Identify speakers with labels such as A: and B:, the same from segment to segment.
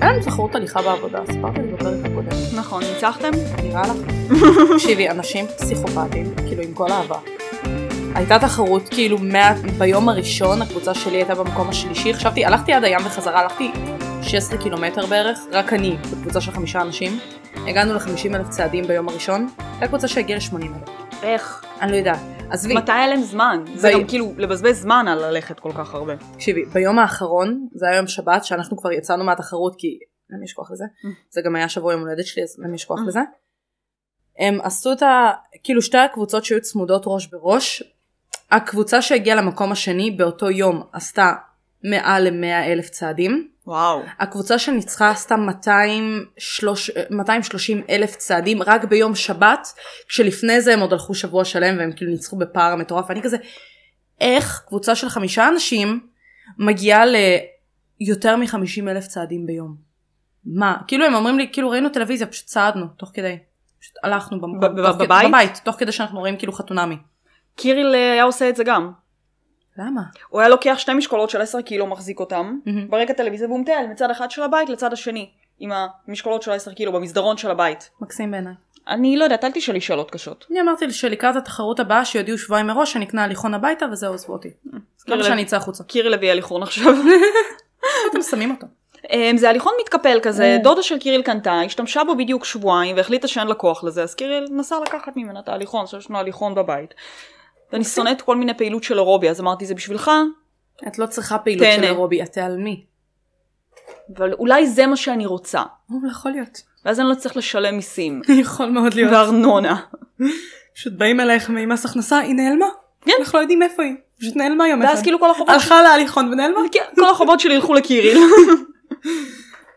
A: היה לי תחרות הליכה בעבודה, סיפרתי את זה בפרק הקודם.
B: נכון, ניצחתם?
A: נראה לך? תקשיבי, אנשים פסיכופטים, כאילו עם כל אהבה. הייתה תחרות, כאילו מה... ביום הראשון הקבוצה שלי הייתה במקום השלישי, חשבתי, הלכתי עד הים וחזרה, הלכתי 16 קילומטר בערך, רק אני, בקבוצה של חמישה אנשים. הגענו ל-50 אלף צעדים ביום הראשון, הייתה קבוצה שהגיעה ל-80 אלף.
B: איך?
A: אני לא יודעת. עזבי,
B: מתי היה להם זמן? זה
A: ב-
B: גם כאילו לבזבז זמן על ללכת כל כך הרבה.
A: תקשיבי, ביום האחרון, זה היה יום שבת, שאנחנו כבר יצאנו מהתחרות כי למי יש כוח לזה? זה גם היה שבוע יום הולדת שלי, אז למי יש כוח
B: Mm.
A: לזה? הם עשו את ה... כאילו שתי הקבוצות שהיו צמודות ראש בראש, הקבוצה שהגיעה למקום השני באותו יום עשתה מעל ל-100 אלף צעדים,
B: וואו.
A: הקבוצה שניצחה עשתה 200, 230 אלף צעדים רק ביום שבת, כשלפני זה הם עוד הלכו שבוע שלם והם כאילו ניצחו בפער מטורף, ואני כזה, איך קבוצה של חמישה אנשים מגיעה ליותר מ-50 אלף צעדים ביום? מה? כאילו הם אומרים לי, כאילו ראינו טלוויזיה, פשוט צעדנו, תוך כדי. פשוט הלכנו במקום.
B: ב- ב-
A: תוך כ-
B: בבית?
A: בבית, תוך כדי שאנחנו רואים כאילו חתונמי.
B: קיריל אה, היה עושה את זה גם.
A: למה?
B: הוא היה לוקח שתי משקולות של 10 קילו, לא מחזיק אותם,
A: מהמם.
B: ברקע טלוויזיה והוא מטייל מצד אחד של הבית לצד השני, עם המשקולות של 10 קילו במסדרון של הבית.
A: מקסים בעיניי.
B: אני לא יודעת, אל תשאלי שאלות קשות.
A: אני אמרתי שלקראת התחרות הבאה שיודיעו שבועיים מראש שאני אקנה הליכון הביתה וזהו עזבו אותי. אז כאילו למה
B: קיריל-
A: שאני אצא החוצה?
B: קיריל הביא הליכון עכשיו.
A: אתם שמים אותו.
B: אמ, זה הליכון מתקפל כזה,
A: Mm.
B: דודה של קיריל קנתה, השתמשה בו בדיוק שבועיים והחליטה שאין לה כוח לזה, אז קיריל נסע לקחת ממנה את ההליכון, שיש לנו הליכון בבית. ואני שונאת כל מיני פעילות של אירובי, אז אמרתי זה בשבילך,
A: את לא צריכה פעילות של
B: תהנה.
A: אירובי, את תיעלמי.
B: אבל אולי זה מה שאני רוצה.
A: הוא יכול להיות.
B: ואז אני לא צריך לשלם מיסים.
A: יכול מאוד להיות.
B: וארנונה.
A: פשוט באים אלייך ממס הכנסה, היא נעלמה.
B: כן.
A: אנחנו לא יודעים איפה היא. פשוט נעלמה יום
B: ואז כאילו כל החובות
A: הלכה להליכון ונעלמה.
B: כן, כל החובות שלי ילכו לקיריל.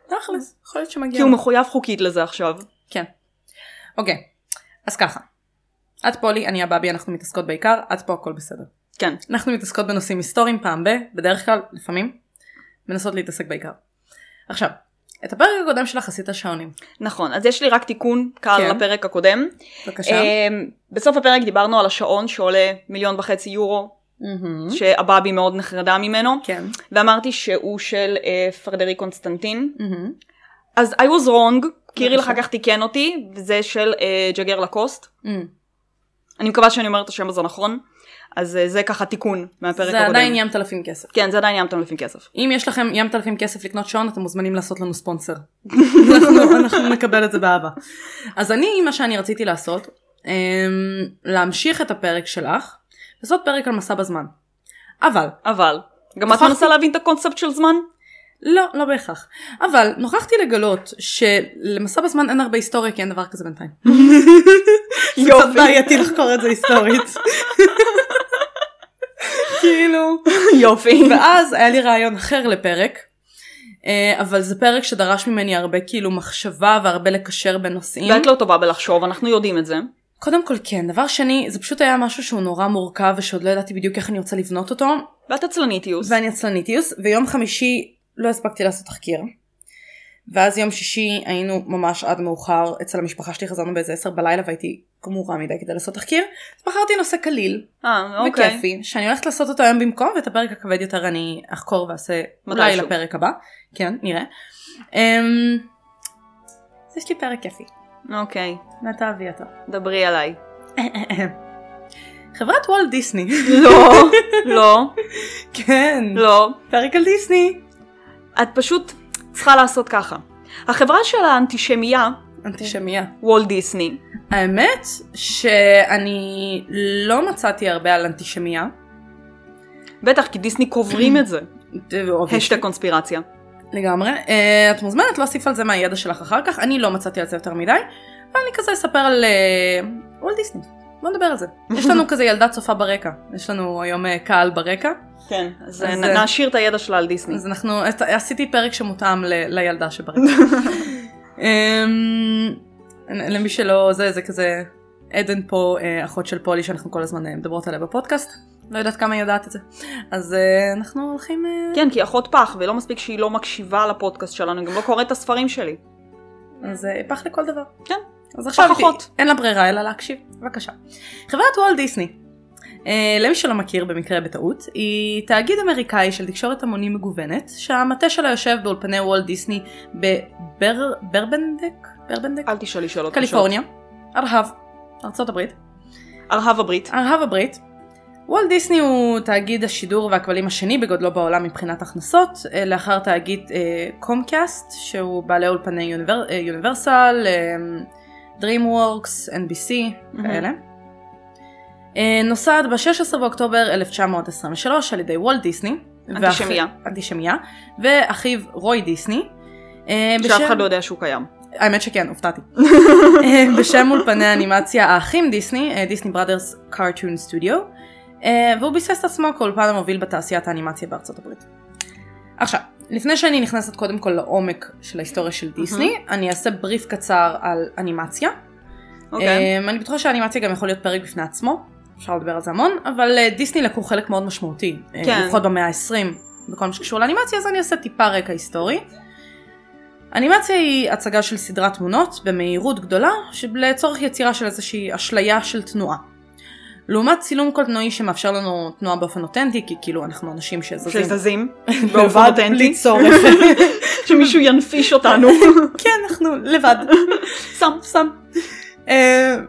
A: תכלס, יכול להיות שמגיע.
B: כי הוא מחויב חוקית לזה עכשיו.
A: כן. אוקיי, אז ככה. את פולי, אני הבאבי, אנחנו מתעסקות בעיקר, את פה הכל בסדר.
B: כן.
A: אנחנו מתעסקות בנושאים היסטוריים פעם ב, בדרך כלל, לפעמים, מנסות להתעסק בעיקר. עכשיו, את הפרק הקודם שלך עשית שעונים.
B: נכון, אז יש לי רק תיקון קל
A: כן.
B: לפרק הקודם.
A: בבקשה.
B: אמ, בסוף הפרק דיברנו על השעון שעולה מיליון וחצי יורו,
A: מהמם.
B: Mm-hmm. שהבאבי מאוד נחרדה ממנו,
A: Mm-hmm. כן.
B: ואמרתי שהוא של אה, פרדרי קונסטנטין.
A: מהמם.
B: אז I was wrong, קיריל
A: בבקשה.
B: אחר כך תיקן אותי, וזה של אה, ג'גר לקוסט.
A: מהמם.
B: אני מקווה שאני אומרת את השם הזה נכון. אז אה, זה ככה תיקון מהפרק
A: זה
B: הקודם.
A: עדיין ים תלפים כסף.
B: כן, זה עדיין ים תלפים כסף.
A: אם יש לכם ים תלפים כסף לקנות שעון אתם מוזמנים לעשות לנו ספונסר. אנחנו, אנחנו נקבל את זה באהבה. אז אני מה שאני רציתי לעשות אמ, להמשיך את הפרק שלך לעשות פרק על מסע בזמן. אבל
B: אבל, גם את
A: הוכחתי-
B: מנסה להבין את הקונספט של זמן?
A: לא לא בהכרח אבל נוכחתי לגלות שלמסע בזמן אין הרבה היסטוריה כי אין דבר כזה בינתיים. זה קצת בעייתי לחקור את זה היסטורית. כאילו.
B: יופי.
A: ואז היה לי רעיון אחר לפרק, אה, אבל זה פרק שדרש ממני הרבה כאילו מחשבה והרבה לקשר בין נושאים.
B: ואת לא טובה בלחשוב, אנחנו יודעים את זה.
A: קודם כל כן, דבר שני, זה פשוט היה משהו שהוא נורא מורכב ושעוד לא ידעתי בדיוק איך אני רוצה לבנות אותו,
B: ואת עצלנית יוס.
A: ואני עצלניטיוס, ויום חמישי לא הספקתי לעשות תחקיר. ואז יום שישי היינו ממש עד מאוחר אצל המשפחה שלי, חזרנו באיזה עשר בלילה והייתי גמורה מדי כדי לעשות תחקיר, אז בחרתי נושא קליל,
B: אה, אוקיי.
A: וכיפי, שאני הולכת לעשות אותו היום במקום, ואת הפרק הכבד יותר אני אחקור ואעשה אולי
B: מתישהו.
A: לפרק הבא, כן, נראה. אמ, אז יש לי פרק כיפי,
B: אוקיי,
A: ואתה אביא אותו.
B: דברי עליי.
A: חברת וולט דיסני,
B: לא, לא,
A: כן,
B: לא. אוקיי.
A: פרק על דיסני.
B: את פשוט צריכה לעשות ככה. החברה של האנטישמיה,
A: אנטישמיה.
B: וולט דיסני,
A: האמת שאני לא מצאתי הרבה על אנטישמיה.
B: בטח כי דיסני קוברים את זה. השטג קונספירציה.
A: אוקיי, לגמרי. אה, את מוזמנת להוסיף על זה מהידע שלך אחר כך, אני לא מצאתי על זה יותר מדי, אבל אני כזה אספר על אה, וולט דיסני. בוא נדבר על זה. יש לנו כזה ילדה צופה ברקע, יש לנו היום אה, קהל ברקע,
B: כן,
A: אז,
B: אז נ-
A: אה,
B: נעשיר את הידע שלה על דיסני.
A: אז אנחנו, עש- עשיתי פרק שמותאם ל, לילדה שברקע. אמ, למי שלא, זה, זה כזה, עדן פה, אה, אחות של פולי שאנחנו כל הזמן אה, מדברות עליה בפודקאסט, לא יודעת כמה היא יודעת את זה. אז אה, אנחנו הולכים... אה,
B: כן, כי היא אחות פח, ולא מספיק שהיא לא מקשיבה לפודקאסט שלנו, היא גם לא קוראת את הספרים שלי.
A: אז אה, פח לכל דבר.
B: כן.
A: אז עכשיו היא-
B: פחות.
A: אין לה ברירה אלא להקשיב. בבקשה. חברת וולט דיסני. אה, למי שלא מכיר במקרה בטעות, היא תאגיד אמריקאי של תקשורת המונים מגוונת, שהמטה שלה יושב באולפני וולט דיסני בברבנדק? ברבנדק?
B: אל תשאלי שאלות.
A: קליפורניה, ארהב, ארצות הברית.
B: קשות. ארהב הברית.
A: ארהב הברית. וולט דיסני הוא תאגיד השידור והכבלים השני בגודלו בעולם מבחינת הכנסות, אה, לאחר תאגיד קומקאסט, שהוא בעלי אולפני יוניבר, אה, יוניברסל, אה, DreamWorks, NBC,
B: מהמם.
A: כאלה. אה, נוסד ב-16 באוקטובר 1923 על ידי וולט דיסני.
B: אנטישמיה.
A: ואח- אנטישמיה. ואחיו רוי דיסני. אה,
B: שאף
A: בשם-
B: אחד לא יודע שהוא קיים.
A: האמת שכן, הופתעתי. אה, בשם אולפני האנימציה האחים דיסני, אה, דיסני בראדרס קארטון סטודיו, אה, והוא ביסס את עצמו כאולפן המוביל בתעשיית האנימציה בארצות הברית. עכשיו, לפני שאני נכנסת קודם כל לעומק של ההיסטוריה של דיסני, אני אעשה בריף קצר על אנימציה.
B: אוקיי.
A: אמ, אני בטוחה שאנימציה גם יכול להיות פרק בפני עצמו, אפשר לדבר על זה המון, אבל אה, דיסני לקחו חלק מאוד משמעותי, אה,
B: כן.
A: לפחות במאה ה-20, בכל מה שקשור לאנימציה, אז אני אעשה טיפה רקע היסטורי. אנימציה היא הצגה של סדרת תמונות במהירות גדולה, של- לצורך יצירה של איזושהי אשליה של תנועה. לעומת צילום קולנועי שמאפשר לנו תנועה באופן אותנטי, כי כאילו אנחנו אנשים שזזים.
B: שזזים. באופן
A: לבד,
B: אותנטי.
A: בלי צורך.
B: שמישהו ינפיש אותנו.
A: כן, אנחנו לבד.
B: סם, סם.
A: Uh,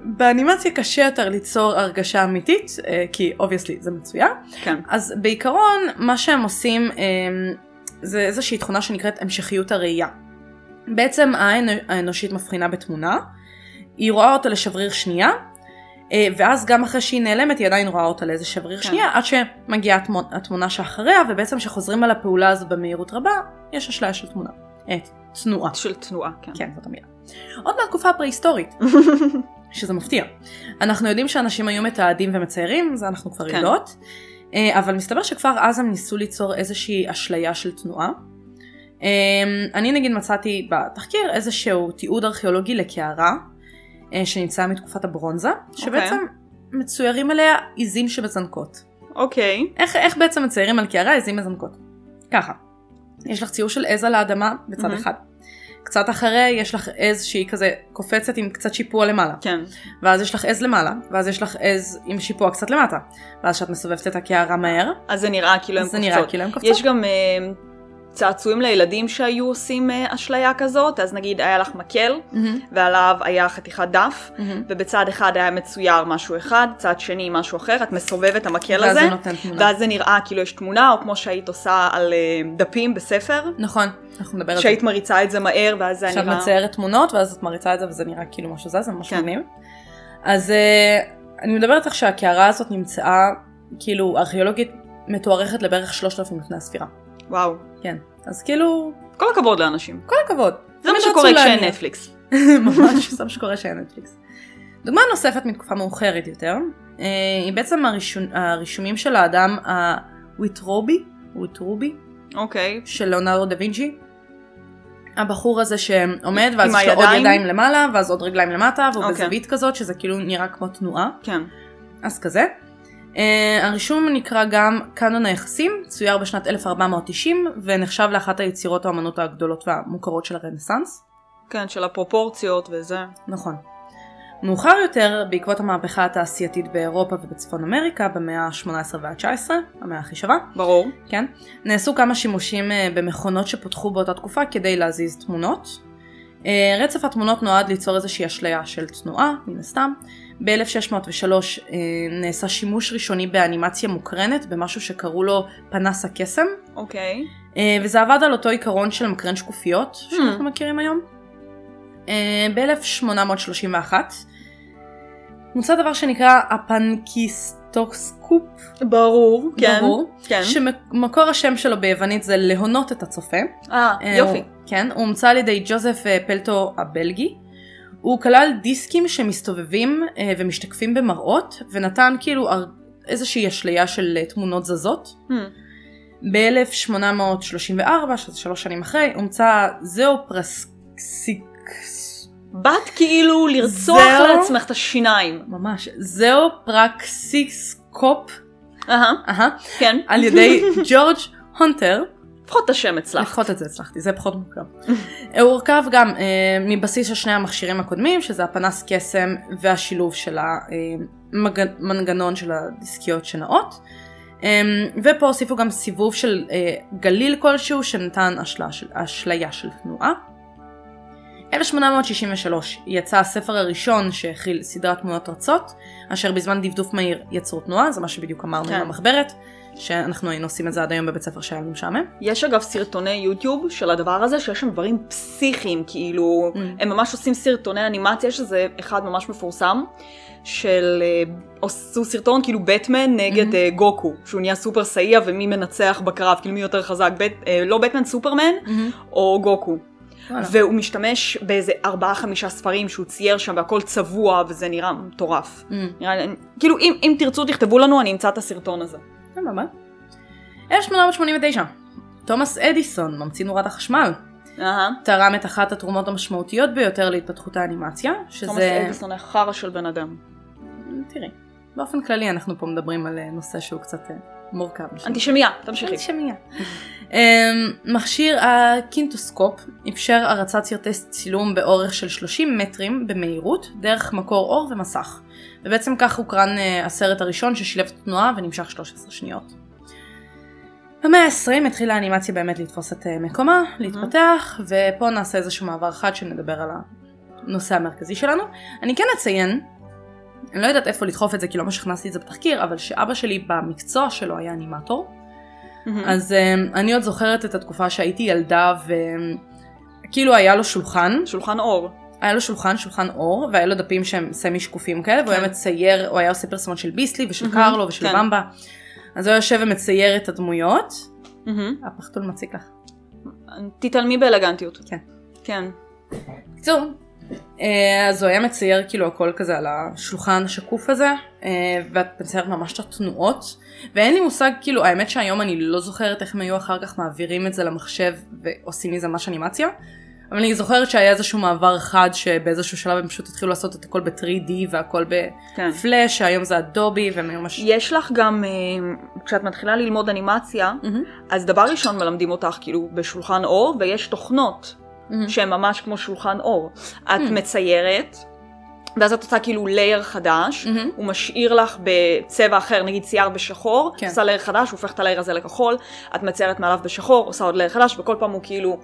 A: באנימציה קשה יותר ליצור הרגשה אמיתית, uh, כי אובייסלי זה מצויר.
B: כן.
A: אז בעיקרון מה שהם עושים um, זה איזושהי תכונה שנקראת המשכיות הראייה. בעצם העין האנושית מבחינה בתמונה, היא רואה אותה לשבריר שנייה, uh, ואז גם אחרי שהיא נעלמת היא עדיין רואה אותה לאיזה שבריר
B: כן.
A: שנייה, עד שמגיעה התמו- התמונה שאחריה, ובעצם כשחוזרים על הפעולה הזו במהירות רבה, יש אשליה של תמונה. אה, תנועה.
B: של תנועה, כן.
A: כן, זאת המילה. עוד מהתקופה הפרה-היסטורית. שזה מפתיע. אנחנו יודעים שאנשים היו מתעדים ומציירים, זה אנחנו כבר
B: כן.
A: כן. יודעות, אה, אבל מסתבר שכבר אז הם ניסו ליצור איזושהי אשליה של תנועה. אה, אני נגיד מצאתי בתחקיר איזשהו תיעוד ארכיאולוגי לקערה, אה, שנמצא מתקופת הברונזה, שבעצם מצוירים עליה עיזים שמזנקות.
B: אוקיי.
A: איך, איך בעצם מציירים על קערה עזים מזנקות? ככה, יש לך ציור של עז על האדמה בצד
B: מהמם.
A: אחד. קצת אחרי יש לך עז שהיא כזה קופצת עם קצת שיפוע למעלה.
B: כן.
A: ואז יש לך עז למעלה, ואז יש לך עז עם שיפוע קצת למטה. ואז כשאת מסובבת את הקערה מהר,
B: אז זה נראה כאילו הם
A: אז זה נראה
B: קופצות.
A: כאילו הם קופצות.
B: יש גם אה, צעצועים לילדים שהיו עושים אה, אשליה כזאת, אז נגיד היה לך מקל,
A: מהמם,
B: ועליו היה חתיכת דף,
A: מהמם.
B: ובצד אחד היה מצויר משהו אחד, צד שני משהו אחר, את מסובבת את המקל
A: ואז
B: הזה,
A: זה נותן תמונה.
B: ואז זה נראה כאילו יש תמונה, או כמו שהיית עושה על אה, דפים בספר,
A: נכון, אנחנו נדבר על זה.
B: שהיית מריצה את זה מהר, ואז זה היה
A: עכשיו
B: נראה...
A: מציירת תמונות, ואז את מריצה את זה וזה נראה כאילו משהו זה, זה ממש
B: כן.
A: מגניב. אז אה, אני מדברת לך שהקערה הזאת נמצאה, כאילו, ארכיאולוגית מתוארכת לבערך 3,000 לפני הספירה.
B: וואו.
A: כן. אז כאילו,
B: כל הכבוד לאנשים.
A: כל הכבוד.
B: זה מה
A: תמיד
B: שקורה
A: רצו
B: כשאין
A: להניע.
B: נטפליקס.
A: ממש, זה מה שקורה שאין נטפליקס. דוגמה נוספת מתקופה מאוחרת יותר, אה, היא בעצם הרישום- הרישומים של האדם הוויטרובי, וויטרובי,
B: אוקיי.
A: של ליאונרדו דה וינצ'י. הבחור הזה שעומד, ואז
B: עם
A: יש לו עוד
B: הידיים?
A: ידיים למעלה, ואז עוד רגליים למטה, והוא
B: אוקיי.
A: בזווית כזאת, שזה כאילו נראה כמו תנועה,
B: כן.
A: אז כזה. אה, הרישום נקרא גם קאנון היחסים, צויר בשנת 1490, ונחשב לאחת היצירות האמנות הגדולות והמוכרות של הרנסאנס.
B: כן, של הפרופורציות וזה.
A: נכון. מאוחר יותר, בעקבות המהפכה התעשייתית באירופה ובצפון אמריקה, במאה ה-18 וה-19, המאה הכי שווה,
B: ברור.
A: כן, נעשו כמה שימושים אה, במכונות שפותחו באותה תקופה כדי להזיז תמונות. אה, רצף התמונות נועד ליצור איזושהי אשליה של תנועה, מן הסתם. ב-1603 אה, נעשה שימוש ראשוני באנימציה מוקרנת, במשהו שקראו לו פנס הקסם,
B: אוקיי.
A: אה, וזה עבד על אותו עיקרון של מקרן שקופיות שאנחנו מכירים היום. אה, ב-1831 מוצא דבר שנקרא הפנקיסטוסקופ,
B: ברור. כן.
A: ברור,
B: כן.
A: שמקור השם שלו ביוונית זה להונות את הצופה.
B: אה,
A: אה,
B: יופי.
A: הוא- כן, הוא הומצא על ידי ג'וזף אה, פלטו הבלגי. הוא כלל דיסקים שמסתובבים אה, ומשתקפים במראות, ונתן כאילו הר- איזושהי אשליה של אה, תמונות זזות.
B: Hmm.
A: ב-1834, שזה שלוש שנים אחרי, הומצא זאופרסיקס...
B: באת כאילו לרצוח
A: זהו.
B: לעצמך את השיניים.
A: ממש, זאופרקסיקסקופ,
B: אהה,
A: אהה,
B: כן.
A: על ידי ג'ורג' הונטר,
B: לפחות את השם הצלחת.
A: לפחות את זה הצלחתי, זה פחות מורכב. הוא הורכב גם אה, מבסיס של שני המכשירים הקודמים, שזה הפנס קסם והשילוב של המנגנון של הדיסקיות שנעות. אה, ופה הוסיפו גם סיבוב של אה, גליל כלשהו שנתן אשלה של, אשליה של תנועה. 1863 יצא הספר הראשון שהכיל סדרת תמונות רצות, אשר בזמן דפדוף מהיר יצרו תנועה, זה מה שבדיוק אמרנו
B: כן.
A: עם המחברת, שאנחנו היינו עושים את זה עד היום בבית ספר שהיה לנו משעמם.
B: יש אגב סרטוני יוטיוב של הדבר הזה, שיש שם דברים פסיכיים, כאילו,
A: Mm.
B: הם ממש עושים סרטוני אנימציה, יש איזה אחד ממש מפורסם, של אה, עשו סרטון כאילו בטמן נגד אה, גוקו, שהוא נהיה סופר סאייה ומי מנצח בקרב, כאילו מי יותר חזק, בט, אה, לא בטמן, סופרמן
A: אה,
B: או גוקו.
A: וואלה.
B: והוא משתמש באיזה ארבעה חמישה ספרים שהוא צייר שם והכל צבוע וזה נראה מטורף.
A: Mm.
B: נראה לי, כאילו אם, אם תרצו תכתבו לנו אני אמצא את הסרטון הזה.
A: סבבה. 1889, תומאס אדיסון, ממציא נורת החשמל,
B: אהה.
A: תרם את אחת התרומות המשמעותיות ביותר להתפתחות האנימציה,
B: תומאס
A: שזה...
B: אדיסון היה חרא של בן אדם.
A: תראי, באופן כללי אנחנו פה מדברים על אה, נושא שהוא קצת אה, מורכב.
B: אנטישמיה, תמשיכי.
A: אנטישמיה. אמ, מכשיר הקינטוסקופ אפשר הרצת סרטי צילום באורך של 30 מטרים במהירות דרך מקור אור ומסך. ובעצם כך הוקרן אה, הסרט הראשון ששילב תנועה ונמשך 13 שניות. במאה ה-20 התחילה האנימציה באמת לתפוס את אה, מקומה, להתפתח, ופה נעשה איזשהו מעבר חד שנדבר על הנושא המרכזי שלנו. אני כן אציין, אני לא יודעת איפה לדחוף את זה כי לא ממש הכנסתי את זה בתחקיר, אבל שאבא שלי במקצוע שלו היה אנימטור.
B: מהמם.
A: אז um, אני עוד זוכרת את התקופה שהייתי ילדה וכאילו היה לו שולחן,
B: שולחן אור.
A: היה לו שולחן, שולחן אור, והיה לו דפים שהם סמי שקופים כאלה, והוא
B: כן.
A: היה מצייר, הוא היה עושה פרסומות של ביסלי ושל
B: מהמם,
A: קרלו ושל
B: כן.
A: במבה. אז הוא היה יושב ומצייר את הדמויות.
B: מהמם.
A: הפחתול מציק לך.
B: תתעלמי באלגנטיות.
A: כן.
B: כן.
A: בקיצור, אה, אז הוא היה מצייר כאילו הכל כזה על השולחן השקוף הזה, אה, ואת מציירת ממש את התנועות, ואין לי מושג, כאילו, האמת שהיום אני לא זוכרת איך הם היו אחר כך מעבירים את זה למחשב ועושים מזה ממש אנימציה, אבל אני זוכרת שהיה איזשהו מעבר חד שבאיזשהו שלב הם פשוט התחילו לעשות את הכל ב-3D והכל
B: כן.
A: בפלאש, שהיום זה אדובי והם היו ממש...
B: יש לך גם, אה, כשאת מתחילה ללמוד אנימציה,
A: מהמם,
B: אז דבר ראשון מלמדים אותך כאילו בשולחן אור, ויש תוכנות
A: מהמם.
B: שהן ממש כמו שולחן אור. את
A: Hmm.
B: מציירת, ואז את עושה כאילו לייר חדש,
A: מהמם.
B: הוא משאיר לך בצבע אחר, נגיד צייר בשחור,
A: כן.
B: עושה לייר חדש, הופך את הלייר הזה לכחול, את מציירת מעליו בשחור, עושה עוד לייר חדש, וכל פעם הוא כאילו...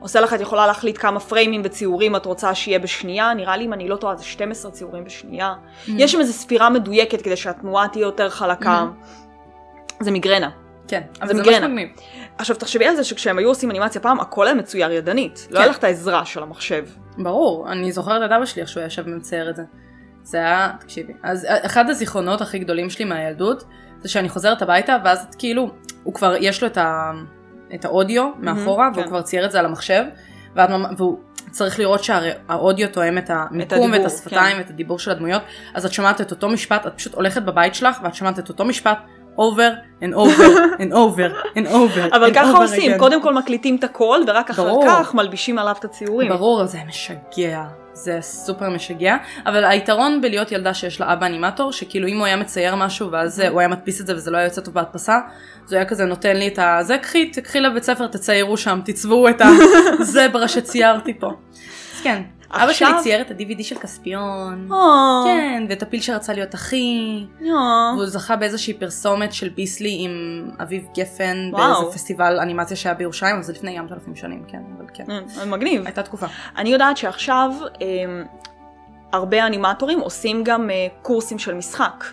B: עושה לך, את יכולה להחליט כמה פריימים וציורים את רוצה שיהיה בשנייה, נראה לי אם אני לא טועה זה 12 ציורים בשנייה.
A: Mm-hmm.
B: יש שם איזו ספירה מדויקת כדי שהתנועה תהיה יותר חלקה. זה מיגרנה.
A: כן, אבל
B: זה
A: זה ממש
B: מיגרנה.
A: מגניב.
B: עכשיו תחשבי על זה שכשהם היו עושים אנימציה פעם, הכל היה מצויר ידנית. לא
A: כן. אה,
B: היה לך את העזרה של המחשב.
A: ברור, אני זוכרת את אבא שלי איך שהוא ישב ומצייר את זה. זה היה, תקשיבי, אז אחד הזיכרונות הכי גדולים שלי מהילדות, זה שאני חוזרת הביתה ואז את כאילו, הוא כבר, יש לו את, ה, את האודיו מאחורה, והוא
B: כן.
A: כבר צייר את זה על המחשב, ואת, ממ- והוא צריך לראות שהאודיו תואם את המיקום
B: הדיבור,
A: ואת השפתיים
B: כן.
A: ואת הדיבור של הדמויות, אז את שומעת את אותו משפט, את פשוט הולכת בבית שלך ואת שומעת את אותו משפט. over and over and over and over.
B: אבל
A: and over
B: ככה עושים,
A: again.
B: קודם כל מקליטים את הכל, ורק אחר
A: אה, ברור.
B: כך מלבישים עליו את הציורים.
A: ברור, זה משגע. זה סופר משגע, אבל היתרון בלהיות ילדה שיש לה אבא אנימטור, שכאילו אם הוא היה מצייר משהו ואז
B: אוקיי.
A: אה, הוא היה מדפיס את זה וזה לא היה יוצא טוב בהדפסה, אז הוא היה כזה נותן לי את הזה, קחי, תקחי לבית ספר, תציירו שם, תצבעו את הזברה שציירתי פה. אז כן, אבא שלי
B: עכשיו-
A: צייר את ה-DVD של כספיון,
B: אה,
A: כן, ואת הפיל שרצה להיות אחי,
B: אה.
A: והוא זכה באיזושהי פרסומת של ביסלי עם אביב גפן,
B: וואו.
A: באיזה פסטיבל אנימציה שהיה בירושלים, אבל זה לפני ים אלפים שנים, כן, אבל כן.
B: אה, מגניב.
A: הייתה תקופה.
B: אני יודעת שעכשיו אמ, הרבה אנימטורים עושים גם אה, קורסים של משחק.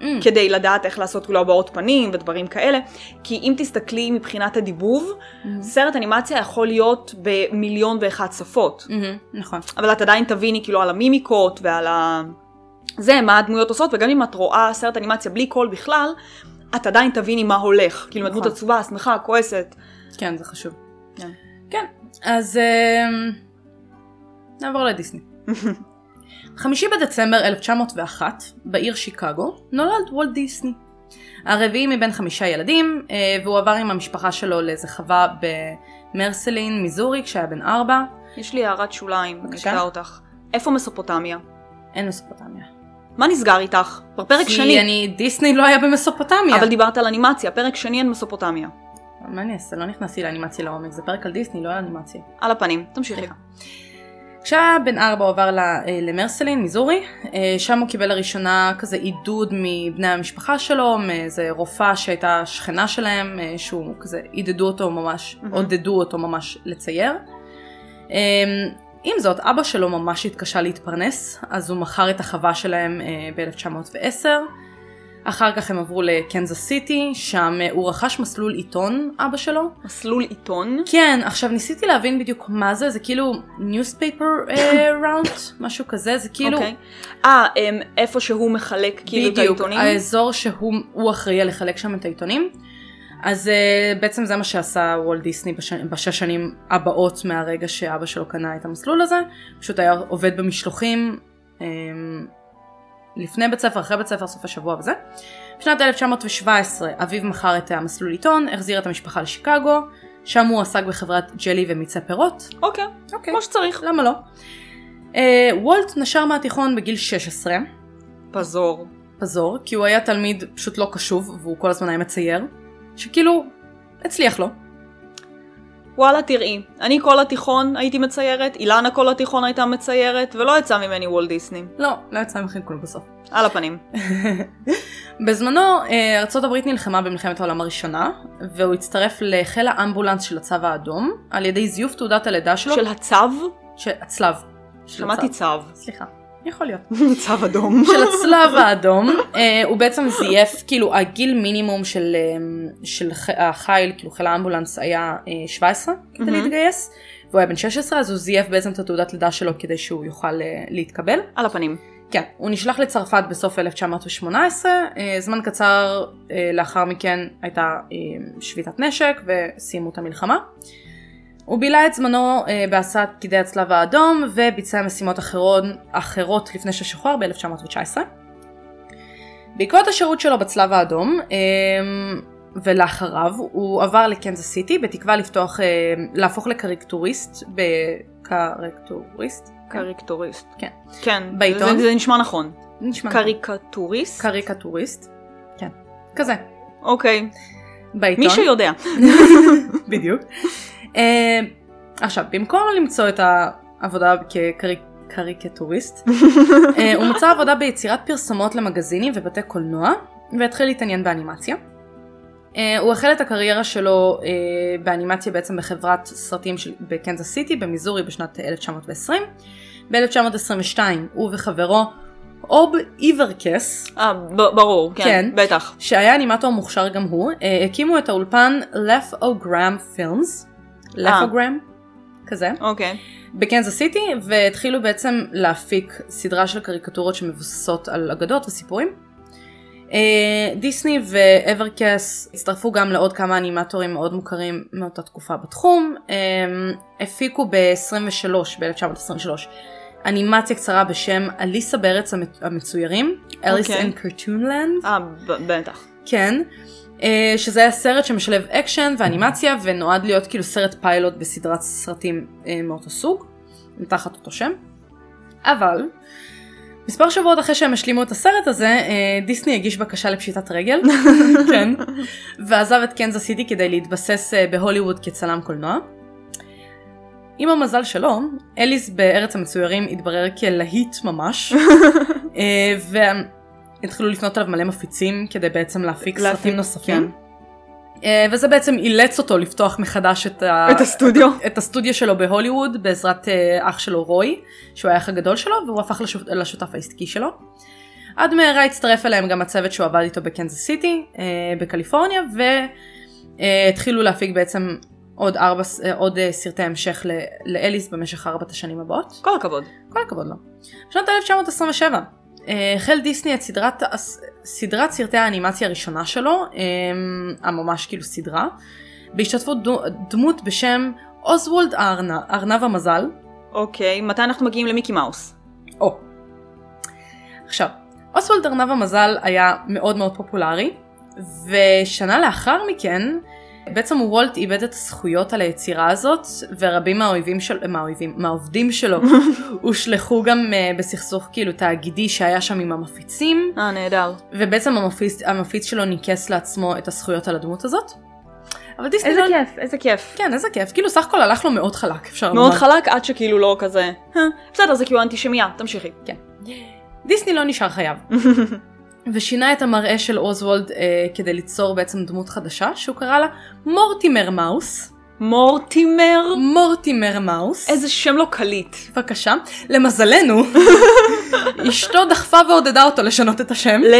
A: Mm.
B: כדי לדעת איך לעשות כאילו הבעות פנים ודברים כאלה, כי אם תסתכלי מבחינת הדיבוב,
A: Mm.
B: סרט אנימציה יכול להיות במיליון ואחת שפות,
A: מהמם, נכון.
B: אבל את עדיין תביני כאילו על המימיקות ועל ה... זה, מה הדמויות עושות, וגם אם את רואה סרט אנימציה בלי קול בכלל, את עדיין תביני מה הולך. כאילו, אם הדמות
A: נכון.
B: עצובה, שמחה, כועסת.
A: כן, זה חשוב.
B: כן.
A: כן, אז אמ, נעבור לדיסני. חמישי בדצמבר 1901, בעיר שיקגו, נולד וולט דיסני. הרביעי מבין חמישה ילדים, אה, והוא עבר עם המשפחה שלו לאיזה חווה במרסלין, מיזורי, כשהיה בן ארבע.
B: יש לי הערת שוליים, אני
A: בבקשה.
B: אקטע אותך. איפה מסופוטמיה?
A: אין מסופוטמיה.
B: מה נסגר איתך? כבר פרק
A: כי
B: שני,
A: אני, דיסני לא היה במסופוטמיה.
B: אבל דיברת על אנימציה, פרק שני אין מסופוטמיה.
A: מה אני אעשה? לא נכנסתי לאנימציה לעומק, זה פרק על דיסני, לא על אנימציה.
B: על הפנים, תמשיכי.
A: כשהבן ארבע הוא עבר ל- אה, למרסלין, מיזורי, אה, שם הוא קיבל לראשונה כזה עידוד מבני המשפחה שלו, מאיזה רופאה שהייתה שכנה שלהם, אה, שהוא כזה עידדו אותו ממש,
B: מהמם.
A: עודדו אותו ממש לצייר. אה, עם זאת, אבא שלו ממש התקשה להתפרנס, אז הוא מכר את החווה שלהם אה, ב-1910. אחר כך הם עברו לקנזס סיטי, שם אה, הוא רכש מסלול עיתון, אבא שלו,
B: מסלול עיתון.
A: כן, עכשיו ניסיתי להבין בדיוק מה זה, זה כאילו newspaper אה, route, משהו כזה, זה כאילו,
B: אוקיי. אה, אמ, איפה שהוא מחלק כאילו את
A: בדיוק,
B: העיתונים?
A: האזור שהוא הוא אחראי על לחלק שם את העיתונים. אז אה, בעצם זה מה שעשה וולט דיסני בש, בשש שנים הבאות מהרגע שאבא שלו קנה את המסלול הזה, פשוט היה עובד במשלוחים אה, לפני בית ספר, אחרי בית ספר, סוף השבוע וזה. בשנת 1917 אביו מכר את המסלול עיתון, החזיר את המשפחה לשיקגו, שם הוא עסק בחברת ג'לי ומיצי פירות,
B: אוקיי,
A: אוקיי.
B: כמו שצריך.
A: למה לא? אה, וולט נשר מהתיכון בגיל 16,
B: פזור.
A: פזור, כי הוא היה תלמיד פשוט לא קשוב, והוא כל הזמן היה מצייר, שכאילו, הצליח לו.
B: וואלה, תראי, אני כל התיכון הייתי מציירת, אילנה כל התיכון הייתה מציירת, ולא יצא ממני וולט דיסני.
A: לא, לא יצא ממכם כלום בסוף.
B: על הפנים.
A: בזמנו, אה, ארצות הברית נלחמה במלחמת העולם הראשונה, והוא הצטרף לחיל האמבולנס של הצו האדום, על ידי זיוף תעודת הלידה שלו,
B: של הצו?
A: של הצלב. של
B: שמעתי
A: הצו.
B: צו.
A: סליחה, יכול להיות.
B: צו אדום.
A: של הצלב האדום, אה, הוא בעצם זייף, כאילו הגיל מינימום של, אה, של ח- החיל, כאילו חיל האמבולנס היה אה, 17 כדי
B: מהמם.
A: להתגייס, והוא היה בן 16 אז הוא זייף בעצם את התעודת לידה שלו כדי שהוא יוכל אה, להתקבל.
B: על הפנים.
A: כן, הוא נשלח לצרפת בסוף 1918, אה, זמן קצר אה, לאחר מכן הייתה אה, שביתת נשק וסיימו את המלחמה. הוא בילה את זמנו אה, בהסעת פקידי הצלב האדום וביצע משימות אחרות, אחרות לפני ששוחרר ב-1919. בעקבות השירות שלו בצלב האדום אה, ולאחריו הוא עבר לקנזס סיטי בתקווה לפתוח, אה, להפוך לקריקטוריסט, בקריקטוריסט?
B: קריקטוריסט.
A: כן.
B: כן.
A: בעיתון?
B: זה- זה נשמע נכון.
A: נשמע נכון.
B: קריקטוריסט?
A: קריקטוריסט. כן. כזה.
B: אוקיי.
A: בעיתון.
B: מי שיודע.
A: בדיוק. אה, עכשיו, במקום לא למצוא את העבודה כקריקטוריסט, אה, הוא מצא עבודה ביצירת פרסומות למגזינים ובתי קולנוע, והתחיל להתעניין באנימציה. אה, הוא החל את הקריירה שלו אה, באנימציה בעצם בחברת סרטים של, בקנזס סיטי במיזורי בשנת 1920. ב-1922 הוא וחברו אוב איברקס,
B: אה, ב- ברור.
A: כן.
B: כן. בטח.
A: שהיה אנימטור מוכשר גם הוא, אה, הקימו את האולפן לפאוגרם פילמס, לפאוגרם, כזה,
B: אוקיי.
A: בקנזס סיטי, והתחילו בעצם להפיק סדרה של קריקטורות שמבוססות על אגדות וסיפורים. אה, דיסני ואברקס הצטרפו גם לעוד כמה אנימטורים מאוד מוכרים מאותה תקופה בתחום. אה, הפיקו ב-23, ב-1923, אנימציה קצרה בשם אליסה בארץ המצ- המצוירים, אליס
B: אוקיי.
A: אין קרטונלנד.
B: אה, ב- בטח.
A: כן, אה, שזה היה סרט שמשלב אקשן ואנימציה ונועד להיות כאילו סרט פיילוט בסדרת סרטים אה, מאותו סוג, תחת אותו שם. אבל, מספר שבועות אחרי שהם השלימו את הסרט הזה, אה, דיסני הגיש בקשה לפשיטת רגל, כן, ועזב את קנזס סיטי כדי להתבסס אה, בהוליווד כצלם קולנוע. עם המזל שלו, אליס בארץ המצוירים התברר כלהיט ממש, אה, והתחילו לפנות אליו מלא מפיצים כדי בעצם להפיק
B: להפיק,
A: סרטים נוספים. אה, וזה בעצם אילץ אותו לפתוח מחדש את, ה...
B: את הסטודיו.
A: את הסטודיו שלו בהוליווד בעזרת אה, אח שלו רוי, שהוא היה האח הגדול שלו, והוא הפך לשו- לשותף העסקי שלו. עד מהרה הצטרף אליהם גם הצוות שהוא עבד איתו בקנזס סיטי אה, בקליפורניה, והתחילו להפיק בעצם עוד, ארבע, ס- אה, עוד אה, סרטי המשך ל- לאליס במשך ארבעת השנים הבאות.
B: כל הכבוד.
A: כל הכבוד לו. בשנת 1927 אה, החל דיסני את סדרת, הס- סדרת סרטי האנימציה הראשונה שלו, אה, הממש כאילו סדרה, בהשתתפות דו, דמות בשם אוזוולד הארנב- ארנב המזל.
B: אוקיי. מתי אנחנו מגיעים למיקי מאוס?
A: או. עכשיו, אוסוולד ארנב המזל היה מאוד מאוד פופולרי, ושנה לאחר מכן, בעצם וולט איבד את הזכויות על היצירה הזאת, ורבים מהאויבים של... מהאויבים, מהעובדים שלו הושלכו גם אה, בסכסוך כאילו תאגידי שהיה שם עם המפיצים,
B: אה, נהדר.
A: ובעצם המפיץ, המפיץ שלו ניקס לעצמו את הזכויות על הדמות הזאת. אבל
B: איזה
A: דיסנילנד,
B: כיף, איזה כיף. כן.
A: כן, איזה כיף. כאילו, סך הכל הלך לו מאוד חלק, אפשר לומר.
B: מאוד חלק עד שכאילו לא כזה. "אה, בסדר, זה כאילו אנטישמיה, תמשיכי.
A: דיסני לא נשאר חייב. ושינה את המראה של אוזוולד אה, כדי ליצור בעצם דמות חדשה, שהוא קרא לה מורטימר מאוס.
B: מורטימר,
A: מורטימר מאוס.
B: איזה שם לא קליט.
A: בבקשה. למזלנו, אשתו דחפה ועודדה אותו לשנות את השם,
B: ל...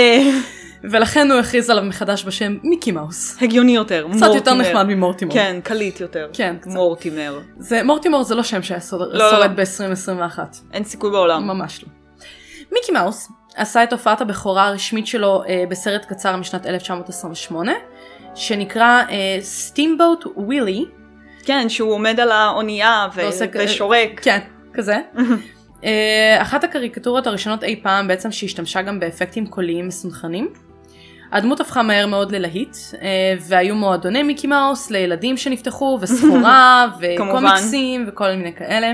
A: ולכן הוא הכריז עליו מחדש בשם מיקי מאוס.
B: הגיוני יותר, מורטימר.
A: קצת יותר נחמד ממורטימור.
B: כן, קליט יותר.
A: כן, קצת.
B: מורטימר.
A: זה, מורטימור זה לא שם שהיה
B: לא, לא.
A: שורד ב-2021.
B: אין סיכוי בעולם.
A: ממש לא. מיקי מאוס עשה את הופעת הבכורה הרשמית שלו אה, בסרט קצר משנת 1928, שנקרא אה, Steamboat ווילי,
B: כן, שהוא עומד על האונייה ו-
A: ועושה כ-
B: ושורק.
A: כן, כזה. אה, אחת הקריקטורות הראשונות אי פעם בעצם שהשתמשה גם באפקטים קוליים מסונכרנים. הדמות הפכה מהר מאוד ללהיט, אה, והיו מועדוני מיקי מאוס לילדים שנפתחו, וסחורה, וקומיקסים, וכל מיני כאלה.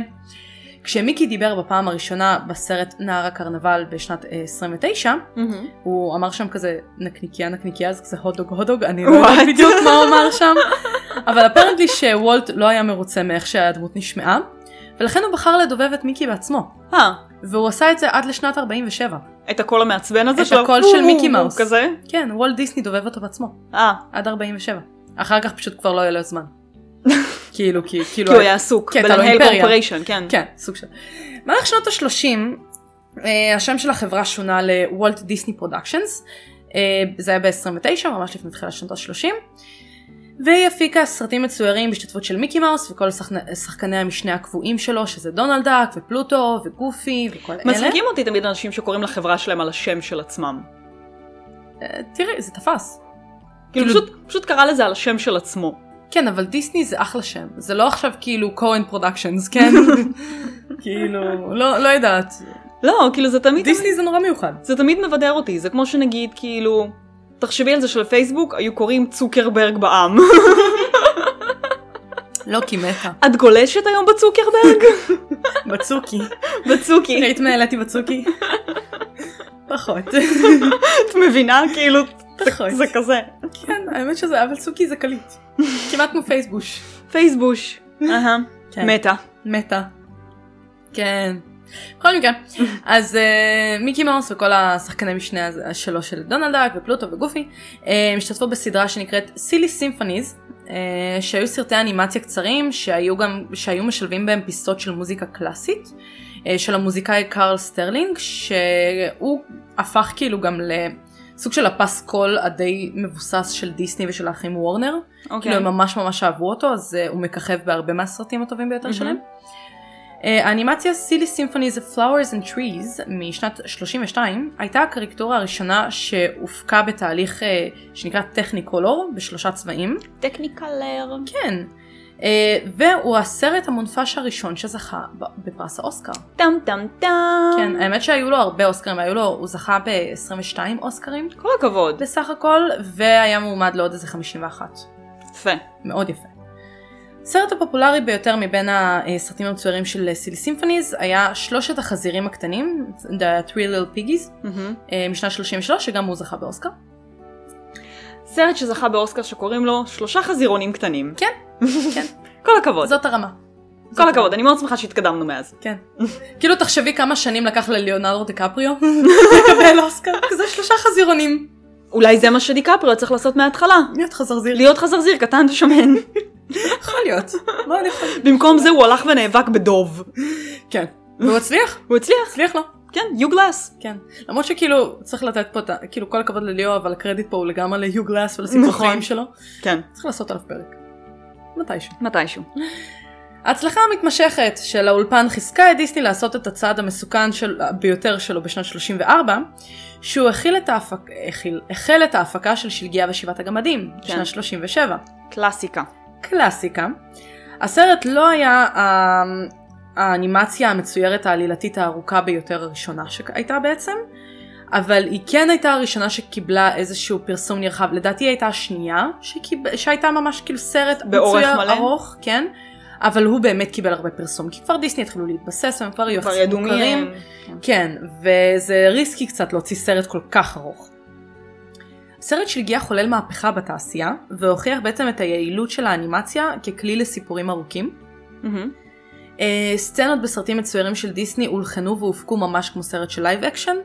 A: כשמיקי דיבר בפעם הראשונה בסרט נער הקרנבל בשנת אה, 29,
B: מהמם.
A: הוא אמר שם כזה נקניקיה נקניקיה זה כזה הודוג הודוג אני לא יודעת
B: What?
A: בדיוק מה הוא אמר שם אבל הפרנטלי שוולט לא היה מרוצה מאיך שהדמות נשמעה ולכן הוא בחר לדובב את מיקי בעצמו
B: אה,
A: והוא עשה את זה עד לשנת 47
B: את הקול המעצבן הזה
A: את הקול של מיקי מאוס. כאילו,
B: כזה?
A: כן וולט דיסני דובב אותו בעצמו
B: אה,
A: עד 47 אחר כך פשוט כבר לא היה לו זמן כאילו כי-
B: כי
A: כאילו
B: הוא היה עסוק.
A: כן, אתה
B: בלנהל
A: לא אימפריה.
B: קורפוריישן, כן.
A: כן סוג של במהלך שנות ה-30 אה, השם של החברה שונה לוולט דיסני פרודקשנס אה, זה היה ב-29 ממש לפני תחילת שנות ה-30 והיא הפיקה סרטים מצוירים בהשתתפות של מיקי מאוס וכל שחקני- שחקני המשנה הקבועים שלו שזה דונלד דאק ופלוטו וגופי וכל אלה.
B: מצחיקים אותי תמיד אנשים שקוראים לחברה שלהם על השם של עצמם.
A: אה, תראי זה תפס.
B: כאילו
A: כאילו-
B: פשוט- פשוט קרא לזה על השם של עצמו.
A: כן אבל דיסני זה אחלה שם זה לא עכשיו כאילו כהן פרודקשנס כן כאילו לא לא יודעת
B: לא, כאילו זה תמיד...
A: דיסני זה נורא מיוחד.
B: זה תמיד מבדר אותי, זה כמו שנגיד כאילו... תחשבי על זה שלפייסבוק היו קוראים צוקרברג בעם.
A: לא כי מתה.
B: את גולשת היום בצוקרברג?
A: בצוקי.
B: בצוקי.
A: ראית מה העליתי בצוקי? פחות.
B: את מבינה? כאילו...
A: פחות.
B: זה כזה.
A: כן, האמת שזה, אבל צוקי זה קליט. כמעט כמו פייסבוש.
B: פייסבוש. אהה.
A: כן.
B: מתה.
A: מתה. כן. בכל מקרה, אז אה, מיקי מאוס וכל השחקני משנה הז- שלו של דונלד דאק ופלוטו וגופי אה, השתתפו בסדרה שנקראת סילי סימפוניז, שהיו סרטי אנימציה קצרים שהיו גם, שהיו משלבים בהם פיסות של מוזיקה קלאסית אה, של המוזיקאי קארל סטרלינג, שהוא הפך כאילו גם לסוג של הפסקול הדי מבוסס של דיסני ושל האחים וורנר.
B: אוקיי.
A: כאילו
B: כן.
A: הם ממש ממש אהבו אותו אז אה, הוא מככב בהרבה מהסרטים הטובים ביותר
B: מהמם.
A: שלהם. אה, האנימציה סילי סימפוני זה Flowers and Trees משנת 32 הייתה הקריקטורה הראשונה שהופקה בתהליך אה, שנקרא טכניקולור בשלושה צבעים.
B: טכניקלר.
A: כן. אה, והוא הסרט המונפש הראשון שזכה ב- בפרס האוסקר.
B: טם טם טם.
A: כן, האמת שהיו לו הרבה אוסקרים, היו לו, הוא זכה ב-22 אוסקרים
B: כל הכבוד.
A: בסך הכל, והיה מועמד לעוד איזה 51.
B: יפה.
A: מאוד יפה. הסרט הפופולרי ביותר מבין הסרטים המצוירים של סיל סימפוניז היה שלושת החזירים הקטנים, The Three Little Piggies,
B: מהמם.
A: אה, משנת 33, שגם הוא זכה באוסקר.
B: סרט שזכה באוסקר שקוראים לו שלושה חזירונים קטנים.
A: כן, כן.
B: כל הכבוד.
A: זאת הרמה.
B: כל הכבוד. אני מאוד שמחה שהתקדמנו מאז.
A: כן. כאילו תחשבי כמה שנים לקח לליאונרדו דקפריו לקבל אוסקר, כזה שלושה חזירונים.
B: אולי זה מה שדיקפריו צריך לעשות מההתחלה.
A: להיות חזרזיר.
B: להיות חזרזיר קטן ושמן.
A: יכול להיות. מאוד יכול.
B: במקום זה הוא הלך ונאבק בדוב.
A: כן. והוא הצליח?
B: הוא הצליח.
A: הצליח לו.
B: כן, יו גלאס.
A: כן. למרות שכאילו צריך לתת פה את ה... כאילו כל הכבוד לליאו אבל הקרדיט פה הוא לגמרי להיו גלאס ולסיפור
B: נכון.
A: החיים שלו.
B: כן.
A: צריך לעשות עליו פרק. מתישהו.
B: מתישהו.
A: ההצלחה המתמשכת של האולפן חיזקה את דיסני לעשות את הצעד המסוכן של... ביותר שלו בשנת 34, שהוא הכיל את ההפק... הכיל... החל את ההפקה של שלגיה ושבעת הגמדים, כן. בשנת 37.
B: קלאסיקה.
A: קלאסיקה. הסרט לא היה ה... האנימציה המצוירת העלילתית הארוכה ביותר הראשונה שהייתה בעצם, אבל היא כן הייתה הראשונה שקיבלה איזשהו פרסום נרחב, לדעתי היא הייתה השנייה שקיב... שהייתה ממש כאילו סרט
B: באורך
A: מצויר,
B: מלא?
A: ארוך, כן, אבל הוא באמת קיבל הרבה פרסום, כי כבר דיסני התחילו להתבסס, הם כבר היו
B: כבר
A: יחסית
B: ידעו מי
A: מוכרים.
B: הם.
A: כן, וזה ריסקי קצת להוציא סרט כל כך ארוך. סרט שלגיה חולל מהפכה בתעשייה, והוכיח בעצם את היעילות של האנימציה ככלי לסיפורים ארוכים.
B: מהמם.
A: אה, סצנות בסרטים מצוירים של דיסני הולחנו והופקו ממש כמו סרט של לייב אקשן.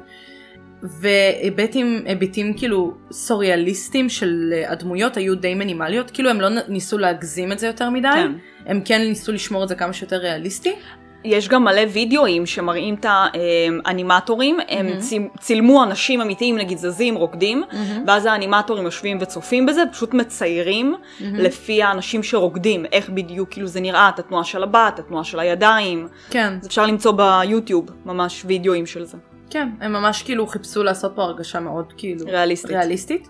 A: והיבטים היבטים כאילו סוריאליסטים של אה, הדמויות היו די מינימליות כאילו הם לא נ- ניסו להגזים את זה יותר מדי
B: כן.
A: הם כן ניסו לשמור את זה כמה שיותר ריאליסטי
B: יש גם מלא וידאוים שמראים את האנימטורים, הם
A: מהמם.
B: צי- צילמו אנשים אמיתיים, נגיד זזים, רוקדים, ואז האנימטורים יושבים וצופים בזה, פשוט מציירים לפי האנשים שרוקדים, איך בדיוק כאילו זה נראה, את התנועה של הבת, התנועה של הידיים,
A: כן
B: אז אפשר למצוא ביוטיוב ממש וידאוים של זה,
A: כן הם ממש כאילו חיפשו לעשות פה הרגשה מאוד כאילו
B: ריאליסטית.
A: ריאליסטית.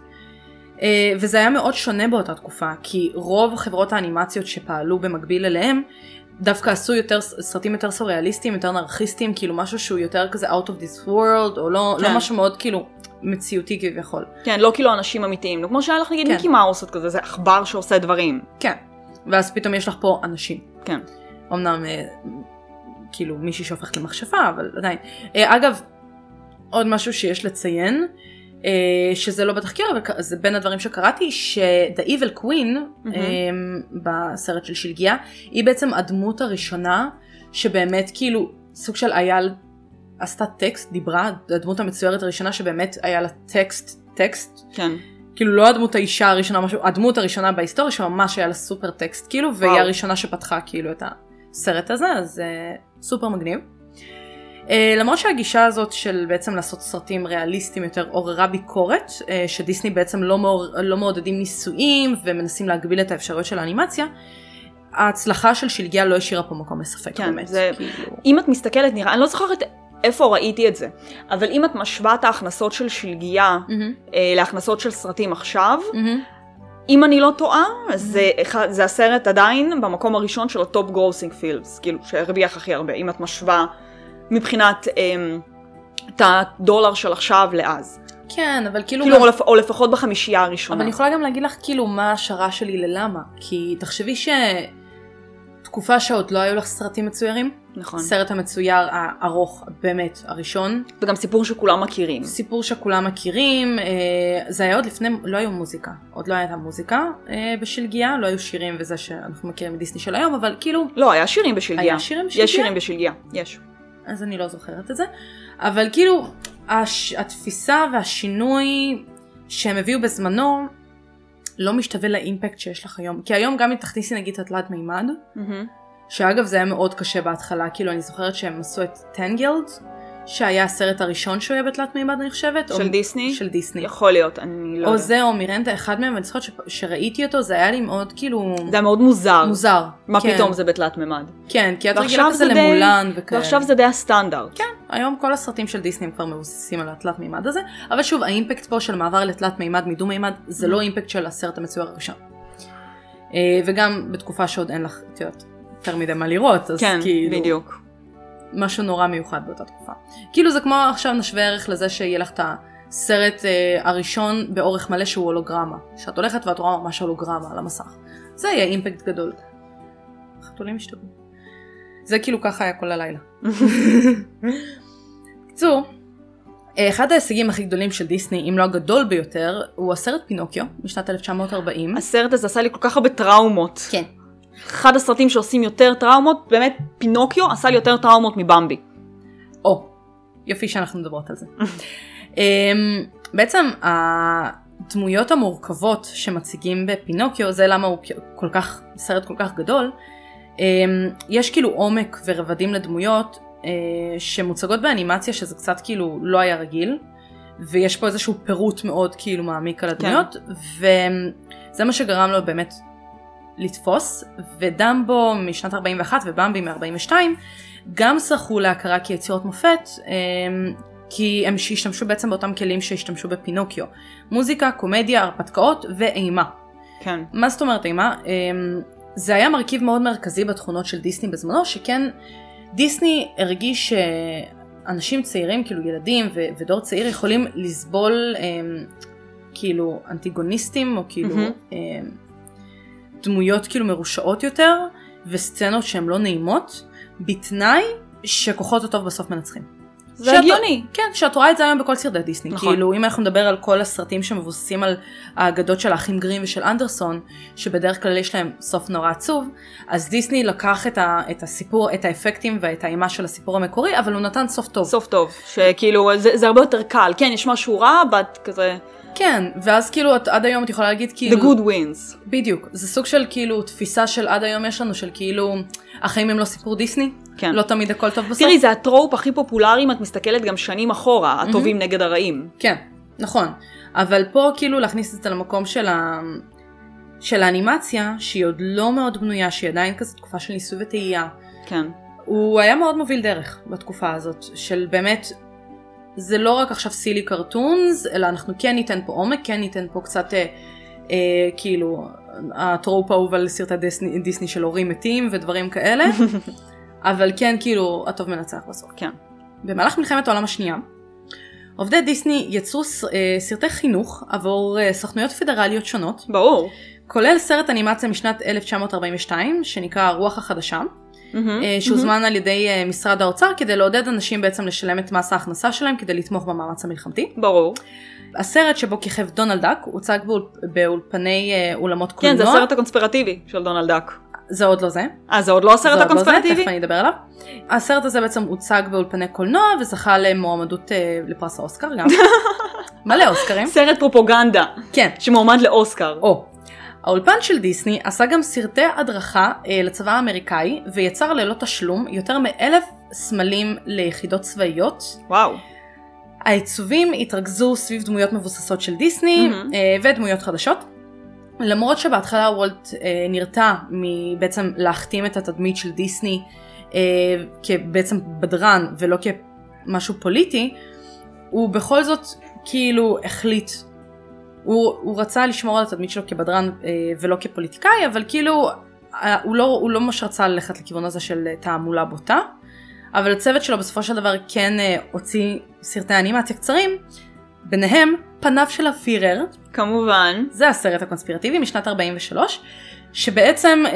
A: אה, וזה היה מאוד שונה באותה תקופה, כי רוב חברות האנימציות שפעלו במקביל אליהם, דווקא עשו יותר סרטים יותר סוריאליסטיים, יותר נרחיסטיים, כאילו משהו שהוא יותר כזה out of this world, או לא,
B: כן.
A: לא משהו מאוד כאילו מציאותי כביכול.
B: כן, לא כאילו אנשים אמיתיים, לא כמו שהיה לך נגיד
A: כן.
B: מיקי מאוס עוד כזה, זה עכבר שעושה דברים.
A: כן. ואז פתאום יש לך פה אנשים.
B: כן.
A: אמנם אה, כאילו מישהי שהופכת למכשפה אבל עדיין. אה, אגב עוד משהו שיש לציין אה, שזה לא בתחקיר אבל כ- זה בין הדברים שקראתי ש-The Evil Queen
B: מהמם.
A: אה, בסרט של שלגיה היא בעצם הדמות הראשונה שבאמת כאילו סוג של אייל עשתה טקסט דיברה הדמות המצוירת הראשונה שבאמת היה לה טקסט טקסט
B: כן.
A: כאילו לא הדמות האישה הראשונה משהו הדמות הראשונה בהיסטוריה שממש היה לה סופר טקסט כאילו והיא
B: וואו.
A: הראשונה שפתחה כאילו את הסרט הזה אז uh, סופר מגניב. אה, למרות שהגישה הזאת של בעצם לעשות סרטים ריאליסטיים יותר עוררה ביקורת אה, שדיסני בעצם לא, מעור, לא מעודדים ניסויים ומנסים להגביל את האפשרויות של האנימציה. ההצלחה של שלגיה לא השאירה פה מקום לספק
B: כן,
A: באמת.
B: זה-
A: כאילו...
B: אם את מסתכלת, נראה, אני לא זוכרת איפה ראיתי את זה, אבל אם את משווה את ההכנסות של שלגיה
A: מהמם,
B: אה, להכנסות של סרטים עכשיו,
A: מהמם.
B: אם אני לא טועה, אז זה, אחד- זה הסרט עדיין במקום הראשון של הטופ גרוסינג פילמס, כאילו שהרוויח הכי הרבה, אם את משווה מבחינת אמ, את הדולר של עכשיו לאז.
A: כן אבל כאילו,
B: כאילו,
A: גם-
B: או, לפ, או לפחות בחמישייה הראשונה.
A: אבל אני יכולה גם להגיד לך כאילו מה ההשערה שלי ללמה, כי תחשבי שתקופה שעוד לא היו לך סרטים מצוירים,
B: נכון.
A: סרט המצויר הארוך באמת הראשון,
B: וגם סיפור שכולם מכירים.
A: סיפור שכולם מכירים, אה, זה היה עוד לפני, לא היו מוזיקה, עוד לא הייתה מוזיקה אה, בשלגיה, לא היו שירים וזה שאנחנו מכירים מדיסני של היום, אבל כאילו
B: לא, היה שירים בשלגיה.
A: היה שירים
B: יש
A: בשלגיה?
B: שירים בשלגיה, יש.
A: אז אני לא זוכרת את זה, אבל כאילו הש, התפיסה והשינוי שהם הביאו בזמנו לא משתווה לאימפקט שיש לך היום, כי היום גם אם תכניסי נגיד את התלת מימד,
B: מהמם.
A: שאגב זה היה מאוד קשה בהתחלה, כאילו אני זוכרת שהם עשו את טנגלד, שהיה הסרט הראשון שהוא היה בתלת מימד אני חושבת,
B: של דיסני?
A: של דיסני,
B: יכול להיות, אני לא
A: או
B: יודעת.
A: זה או מירנדה, אחד מהם, אני זוכרת ש, שראיתי אותו זה היה לי מאוד כאילו
B: זה היה מאוד מוזר.
A: מוזר,
B: מה
A: כן,
B: פתאום זה בתלת מימד.
A: כן, כי את
B: ועכשיו
A: רגילה כזה
B: זה די-
A: למולן וכאלה.
B: ועכשיו זה די הסטנדרט. כן.
A: היום כל הסרטים של דיסני הם כבר מבוססים על התלת מימד הזה, אבל שוב האימפקט פה של מעבר לתלת מימד מדו מימד זה לא אימפקט של הסרט המצויר הראשון. אה, וגם בתקופה שעוד אין לך, את יודעת, יותר מדי מה לראות, אז
B: כן,
A: כאילו,
B: בדיוק.
A: משהו נורא מיוחד באותה תקופה. כאילו זה כמו עכשיו נשווה ערך לזה שיהיה לך את הסרט אה, הראשון באורך מלא שהוא הולוגרמה, שאת הולכת ואת רואה ממש הולוגרמה על המסך. זה יהיה אימפקט גדול. חתולים השתגעו. זה כאילו ככה היה כל הלילה. בקיצור, אה, אחד ההישגים הכי גדולים של דיסני, אם לא הגדול ביותר, הוא הסרט פינוקיו משנת 1940.
B: הסרט הזה עשה לי כל כך הרבה טראומות.
A: כן.
B: אחד הסרטים שעושים יותר טראומות, באמת פינוקיו עשה לי יותר טראומות מבמבי.
A: או, יופי שאנחנו מדברות על זה. אמ, בעצם הדמויות המורכבות שמציגים בפינוקיו, זה למה הוא כל כך, סרט כל כך גדול, אמ, יש כאילו עומק ורבדים לדמויות אה, שמוצגות באנימציה שזה קצת כאילו לא היה רגיל, ויש פה איזשהו פירוט מאוד כאילו מעמיק על הדמויות, וזה מה שגרם לו באמת לתפוס, ודמבו משנת 41 ובמבי מ-42 גם זכו להכרה כיצירות מופת, אמ, כי הם השתמשו בעצם באותם כלים שהשתמשו בפינוקיו. מוזיקה, קומדיה, הרפתקאות ואימה.
B: כן.
A: מה זאת אומרת אימה? אמ, זה היה מרכיב מאוד מרכזי בתכונות של דיסני בזמנו, שכן דיסני הרגיש שאנשים צעירים, כאילו ילדים ו- ודור צעיר יכולים לסבול אמ, כאילו אנטיגוניסטים, או כאילו
B: מהמם.
A: אמ, דמויות כאילו מרושעות יותר, וסצנות שהן לא נעימות, בתנאי שכוחות הטוב בסוף מנצחים.
B: זה
A: שאת-
B: הגיוני.
A: כן, שאת רואה את זה היום בכל סרטי דיסני.
B: נכון.
A: נכון. כאילו, אם אנחנו נדבר על כל הסרטים שמבוססים על האגדות של האחים גרים ושל אנדרסון, שבדרך כלל יש להם סוף נורא עצוב, אז דיסני לקח את, ה, את הסיפור, את האפקטים ואת האימה של הסיפור המקורי, אבל הוא נתן סוף טוב.
B: סוף טוב, שכאילו זה, זה הרבה יותר קל, כן יש משהו רע, בת כזה,
A: כן, ואז כאילו, את, עד היום את יכולה להגיד
B: the
A: כאילו...
B: good wins.
A: בדיוק. זה סוג של כאילו תפיסה של עד היום יש לנו, של כאילו, החיים הם לא סיפור דיסני?
B: כן.
A: לא תמיד הכל טוב בסוף?
B: תראי, זה הטרופ הכי פופולרי אם את מסתכלת גם שנים אחורה, הטובים נגד הרעים.
A: כן, נכון. אבל פה כאילו להכניס את זה למקום של, ה... של האנימציה, שהיא עוד לא מאוד בנויה, שהיא עדיין כזו תקופה של ניסוי וטעייה.
B: כן.
A: הוא היה מאוד מוביל דרך בתקופה הזאת, של באמת, זה לא רק עכשיו סילי קרטונס, אלא אנחנו כן ניתן פה עומק, כן ניתן פה קצת אה, אה, כאילו הטרופ האהוב על סרטי דיסני, דיסני של הורים מתים ודברים כאלה, אבל כן כאילו הטוב מנצח בסוף.
B: כן.
A: במהלך מלחמת העולם השנייה, עובדי דיסני יצרו ס- אה, סרטי חינוך עבור אה, סוכנויות פדרליות שונות,
B: ברור.
A: כולל סרט אנימציה משנת 1942 שנקרא הרוח החדשה,
B: מהמם.
A: אה, שהוזמן על ידי אה, משרד האוצר כדי לעודד אנשים בעצם לשלם את מס ההכנסה שלהם כדי לתמוך במאמץ המלחמתי.
B: מהמם. ברור.
A: הסרט שבו כיכב דונלד דאק הוצג באול- באולפני אה, אולמות קולנוע.
B: כן, זה הסרט הקונספירטיבי של דונלד דאק.
A: זה עוד לא זה.
B: אה, זה עוד לא
A: זה
B: הסרט
A: עוד לא זה,
B: הקונספירטיבי?
A: תכף אני אדבר עליו. הסרט הזה בעצם הוצג באולפני קולנוע וזכה למועמדות אה, לפרס האוסקר גם. מלא אוסקרים.
B: סרט פרופוגנדה
A: כן.
B: שמועמד לאוסקר.
A: או. האולפן של דיסני עשה גם סרטי הדרכה אה, לצבא האמריקאי ויצר ללא תשלום יותר מאלף סמלים ליחידות צבאיות.
B: וואו.
A: העיצובים התרכזו סביב דמויות מבוססות של דיסני
B: מהמם.
A: אה, ודמויות חדשות. למרות שבהתחלה וולט אה, נרתע מבעצם להכתים את התדמית של דיסני אה, כבעצם בדרן ולא כמשהו פוליטי, הוא בכל זאת כאילו החליט. הוא, הוא רצה לשמור על התדמית שלו כבדרן אה, ולא כפוליטיקאי, אבל כאילו אה, הוא לא, הוא לא ממש רצה ללכת לכיוון הזה של אה, תעמולה בוטה. אבל הצוות שלו בסופו של דבר כן אה, הוציא סרטי אנימציה קצרים, ביניהם פניו של הפירר,
B: כמובן.
A: זה הסרט הקונספירטיבי משנת 43, שבעצם אמ,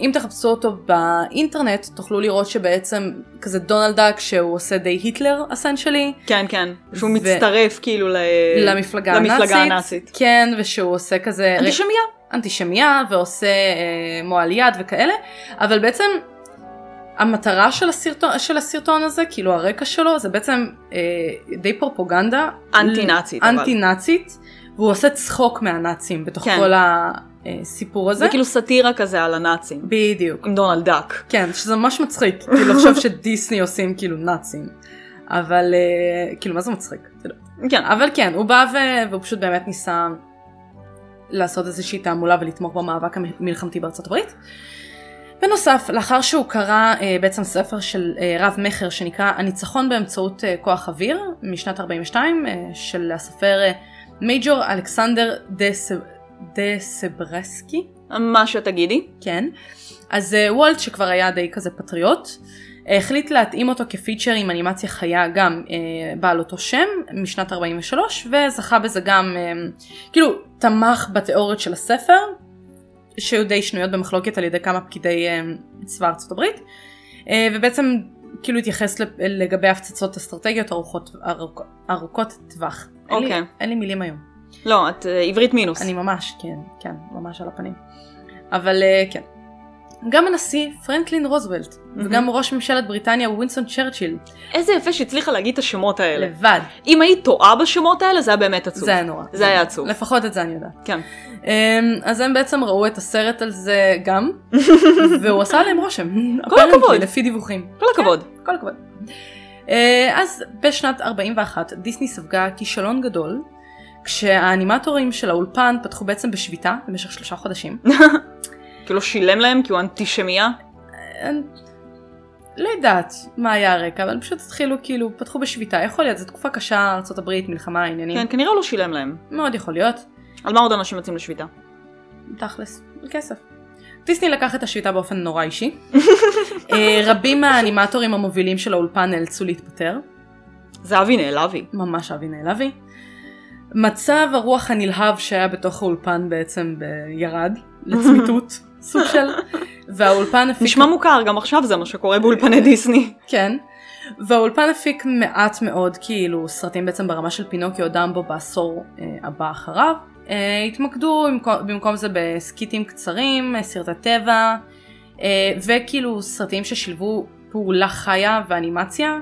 A: אם תחפשו אותו באינטרנט תוכלו לראות שבעצם כזה דונלד דאק שהוא עושה די היטלר אסנשלי,
B: כן, כן. שהוא
A: ו-
B: מצטרף כאילו ל...
A: למפלגה
B: למפלגה הנאצית.
A: הנאצית, כן ושהוא עושה כזה
B: אנטישמיה.
A: אנטישמיה ועושה אה, מועל יד וכאלה, אבל בעצם המטרה של הסרטון, של הסרטון הזה, כאילו הרקע שלו, זה בעצם אה, די פרופוגנדה.
B: אנטי-נאצית, אבל.
A: אנטי נאצית, והוא עושה צחוק מהנאצים בתוך
B: כן.
A: כן. כל הסיפור הזה.
B: זה כאילו סאטירה כזה על הנאצים.
A: בדיוק.
B: עם דונלד דאק.
A: כן, שזה ממש מצחיק, כאילו לחשוב שדיסני עושים כאילו נאצים. אבל אה, כאילו מה זה מצחיק? אתה יודע.
B: כן.
A: אבל כן, הוא בא ו... והוא פשוט באמת ניסה לעשות איזושהי תעמולה ולתמוך במאבק המלחמתי בארצות הברית. בנוסף, לאחר שהוא קרא אה, בעצם ספר של אה, רב מכר שנקרא הניצחון באמצעות אה, כוח אוויר משנת 42 אה, של הסופר אה, מייג'ור אלכסנדר דה, ס... דה סברסקי,
B: מה שתגידי.
A: כן, אז אה, וולט שכבר היה די כזה פטריוט, אה, החליט להתאים אותו כפיצ'ר עם אנימציה חיה גם אה, בעל אותו שם משנת 43 וזכה בזה גם אה, כאילו תמך בתיאוריות של הספר שהיו די שנויות במחלוקת על ידי כמה פקידי אה, צבא ארצות הברית אה, ובעצם כאילו התייחס לפ- לגבי הפצצות אסטרטגיות ארוכות, ארוכ, ארוכות טווח. אין, לי,
B: אוקיי.
A: אין לי מילים היום.
B: לא, את אה, עברית מינוס.
A: אני ממש, כן, כן, ממש על הפנים. אבל אה, כן. גם הנשיא פרנקלין רוזוולט, וגם ראש ממשלת בריטניה ווינסטון צ'רצ'יל,
B: איזה יפה שהצליחה להגיד את השמות האלה.
A: לבד,
B: אם היית טועה בשמות האלה, זה היה באמת עצוב.
A: זה היה נורא.
B: זה היה עצוב.
A: לפחות את זה אני יודעת.
B: כן.
A: אמ, אז הם בעצם ראו את הסרט על זה גם, והוא עשה עליהם רושם.
B: כל הכבוד.
A: apparently, לפי דיווחים.
B: כל הכבוד.
A: כל הכבוד. אה, אז בשנת 41 דיסני ספגה כישלון גדול, כשהאנימטורים של האולפן פתחו בעצם בשביתה במשך שלושה חודשים.
B: כאילו שילם להם כי הוא אנטישמיה.
A: כן. אני לא יודעת מה היה הרקע, אבל פשוט התחילו כאילו, פתחו בשביתה, יכול להיות, זו תקופה קשה, ארה"ב, מלחמה, עניינים,
B: כן, כנראה הוא לא שילם להם.
A: מאוד יכול להיות,
B: על מה עוד אנשים יוצאים לשביתה?
A: תכלס, כסף. דיסני לקח את השביתה באופן נורא אישי. אה, רבים מהאנימטורים המובילים של האולפן נאלצו להתפטר,
B: זהבי נעלבי.
A: ממש אבי נעלבי. מצב הרוח הנלהב שהיה בתוך האולפן בעצם ב- ירד לצמיתות, סוג של, והאולפן הפיק...
B: נשמע מוכר, גם עכשיו זה מה שקורה באולפני דיסני.
A: כן. והאולפן הפיק מעט מאוד כאילו סרטים בעצם ברמה של פינוקיו דמבו בעשור אה, הבא אחריו. אה, התמקדו במקום, במקום זה בסקיטים קצרים, אה, סרטי טבע אה, וכאילו סרטים ששילבו פעולה חיה ואנימציה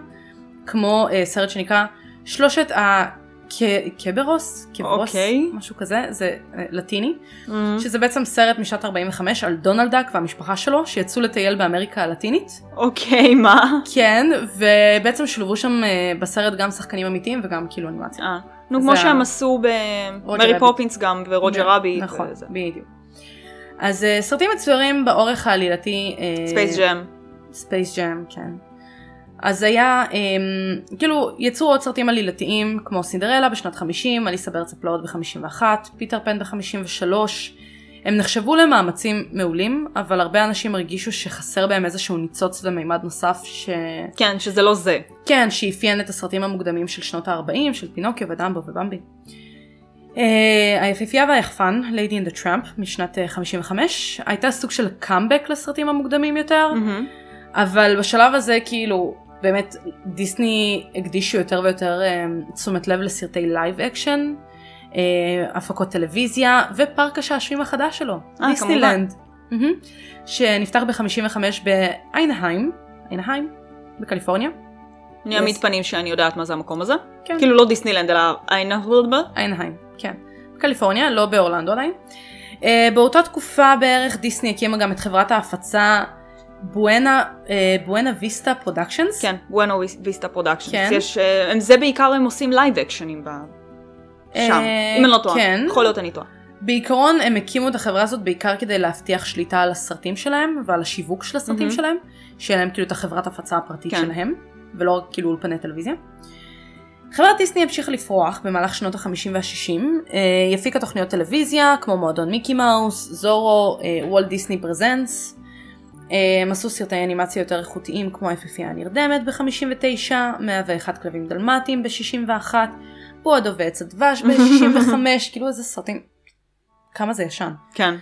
A: כמו אה, סרט שנקרא שלושת הקברוס, קברוס,
B: אוקיי. Mm-hmm.
A: משהו כזה, זה אה, לטיני. שזה בעצם סרט משנת 45 על דונלד דאק והמשפחה שלו שיצאו לטייל באמריקה הלטינית.
B: אוקיי, מה?
A: כן, ובעצם שולבו שם אה, בסרט גם שחקנים אמיתיים וגם כאילו אנימציה.
B: אה, נו, כמו
A: זה
B: שהם
A: ה-
B: עשו
A: רוג'ר
B: במרי
A: רביט.
B: פופינס גם, ורוג'ר רבי.
A: נכון,
B: וזה.
A: בדיוק. אז אה, סרטים מצוירים באורך העלילתי. אה,
B: ספייס ג'ם.
A: ספייס ג'ם, כן. אז היה, אמ, כאילו, יצאו עוד סרטים עלילתיים כמו סינדרלה בשנת 50, אליסה בארץ הפלאות ב-51, פיטר פן ב-53. הם נחשבו למאמצים מעולים, אבל הרבה אנשים הרגישו שחסר בהם איזשהו ניצוץ ומימד נוסף ש...
B: כן, שזה לא זה.
A: כן, שאפיין את הסרטים המוקדמים של שנות ה-40, של פינוקיו ודמבו ובמבי. Uh, היפיפייה והיחפן, Lady in the Tramp, משנת אה, 55, הייתה סוג של קאמבק לסרטים המוקדמים יותר.
B: מהמם.
A: אבל בשלב הזה כאילו באמת דיסני הקדישו יותר ויותר אה, תשומת לב לסרטי לייב אקשן, אה, הפקות טלוויזיה ופארק השעשועים החדש שלו,
B: אה,
A: דיסנילנד, מהמם. שנפתח ב-55 באיינהיים, איינהיים בקליפורניה,
B: אני אעמיד פנים שאני יודעת מה זה המקום הזה.
A: כן.
B: כאילו לא דיסנילנד, אלא איינהלבה.
A: איינהיים, כן, בקליפורניה, לא באורלנדו עדיין. אה, באותה תקופה בערך דיסני הקימה גם את חברת ההפצה בואנה, אה, בואנה ויסטה פרודקשנס.
B: כן, בואנו ויסטה פרודקשנס.
A: כן.
B: יש, אה, הם- זה בעיקר הם עושים לייב אקשנים ב- שם,
A: אה,
B: אם אני לא טועה.
A: כן.
B: יכול להיות אני טועה.
A: בעיקרון הם הקימו את החברה הזאת בעיקר כדי להבטיח שליטה על הסרטים שלהם ועל השיווק של הסרטים
B: מהמם.
A: שלהם, שיהיה להם כאילו את החברת הפצה הפרטית
B: כן.
A: שלהם, ולא רק כאילו אולפני טלוויזיה. חברת דיסני המשיכה לפרוח במהלך שנות ה-50 וה-60, היא הפיקה תוכניות טלוויזיה כמו מועדון מיקי מאוס, זורו, אה, וולט דיסני פרזנס, אה, הם עשו סרטי אנימציה יותר איכותיים כמו היפיפייה הנרדמת ב-59, 101 כלבים דלמטיים ב-61, בועדו ועץ הדבש ב-65, כאילו איזה סרטים. כמה זה ישן.
B: כן.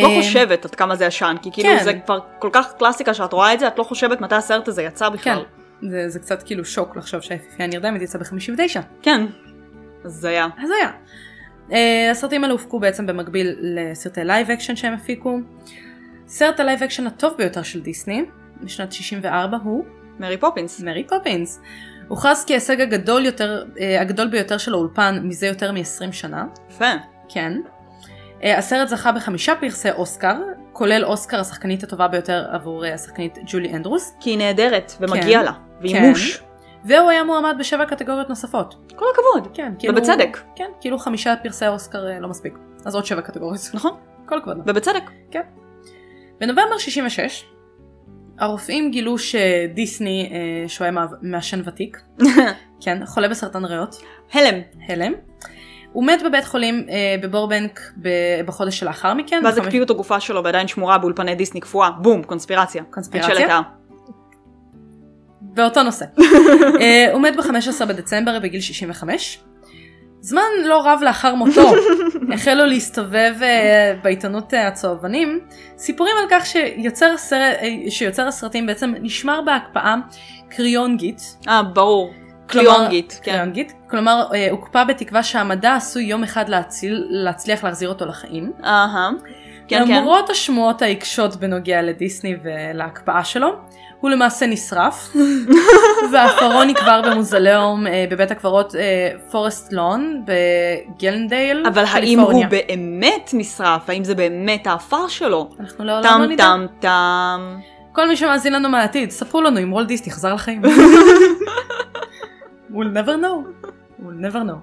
B: לא
A: אה,
B: חושבת עד כמה זה ישן, כי כאילו
A: כן.
B: זה כבר כל כך קלאסיקה שאת רואה את זה, את לא חושבת מתי הסרט הזה יצא
A: כן.
B: בכלל.
A: זה, זה קצת כאילו שוק לחשוב שהיפיפייה הנרדמת יצאה ב-59.
B: כן. אז היה.
A: אז היה. אה, הסרטים האלה הופקו בעצם במקביל לסרטי לייב אקשן שהם הפיקו. סרט הלייב אקשן הטוב ביותר של דיסני, משנת 64 הוא
B: מרי פופינס.
A: מרי פופינס. הוכרז כהישג הגדול, יותר, אה, הגדול ביותר של האולפן מזה יותר מ-20 שנה,
B: יפה.
A: כן. אה, הסרט זכה בחמישה פרסי אוסקר, כולל אוסקר השחקנית הטובה ביותר עבור אה, השחקנית ג'ולי אנדרוס,
B: כי היא נהדרת, ומגיע
A: כן.
B: לה. והיא מוש.
A: והוא היה מועמד בשבע קטגוריות נוספות.
B: כל הכבוד.
A: כן, כאילו...
B: ובצדק.
A: כן, כאילו חמישה פרסי אוסקר אה, לא מספיק. אז עוד שבע קטגוריות.
B: נכון.
A: כל הכבוד. לו.
B: ובצדק.
A: בנובמבר 66, הרופאים גילו שדיסני אה, שוהה מה- מעשן ותיק, כן, חולה בסרטן ריאות.
B: הלם.
A: הלם. הוא מת בבית חולים אה, בבורבנק ב- בחודש שלאחר מכן.
B: ואז
A: בחמש-
B: הקפיאו את הגופה שלו ועדיין שמורה באולפני דיסני קפואה. בום, קונספירציה.
A: קונספירציה?
B: אין שאלת העם.
A: באותו נושא. אה, הוא מת ב-15 בדצמבר בגיל 65. זמן לא רב לאחר מותו החלו להסתובב אה, בעיתונות אה, הצהובנים סיפורים על כך שיוצר, הסר... אה, שיוצר הסרטים בעצם נשמר בהקפאה קריונגית.
B: אה, ברור.
A: כלומר-
B: קליונגית. כן.
A: קריונגית. כלומר אה, הוקפא בתקווה שהמדע עשוי יום אחד להציל, להצליח להחזיר אותו לחיים.
B: אהה. כן, כן.
A: למרות השמועות העיקשות בנוגע לדיסני ולהקפאה שלו, הוא למעשה נשרף, והאחרון נקבר במוזיאום אה, בבית הקברות פורסט לון בגלנדייל,
B: אבל האם הוא
A: קליפורניה.
B: באמת נשרף? האם זה באמת העפר שלו?
A: אנחנו לעולם לא
B: טאם
A: נדע.
B: טאם טאם.
A: כל מי שמאזין לנו מהעתיד, ספרו לנו אם וולט דיסני חזר לחיים. we'll never know. we'll never know.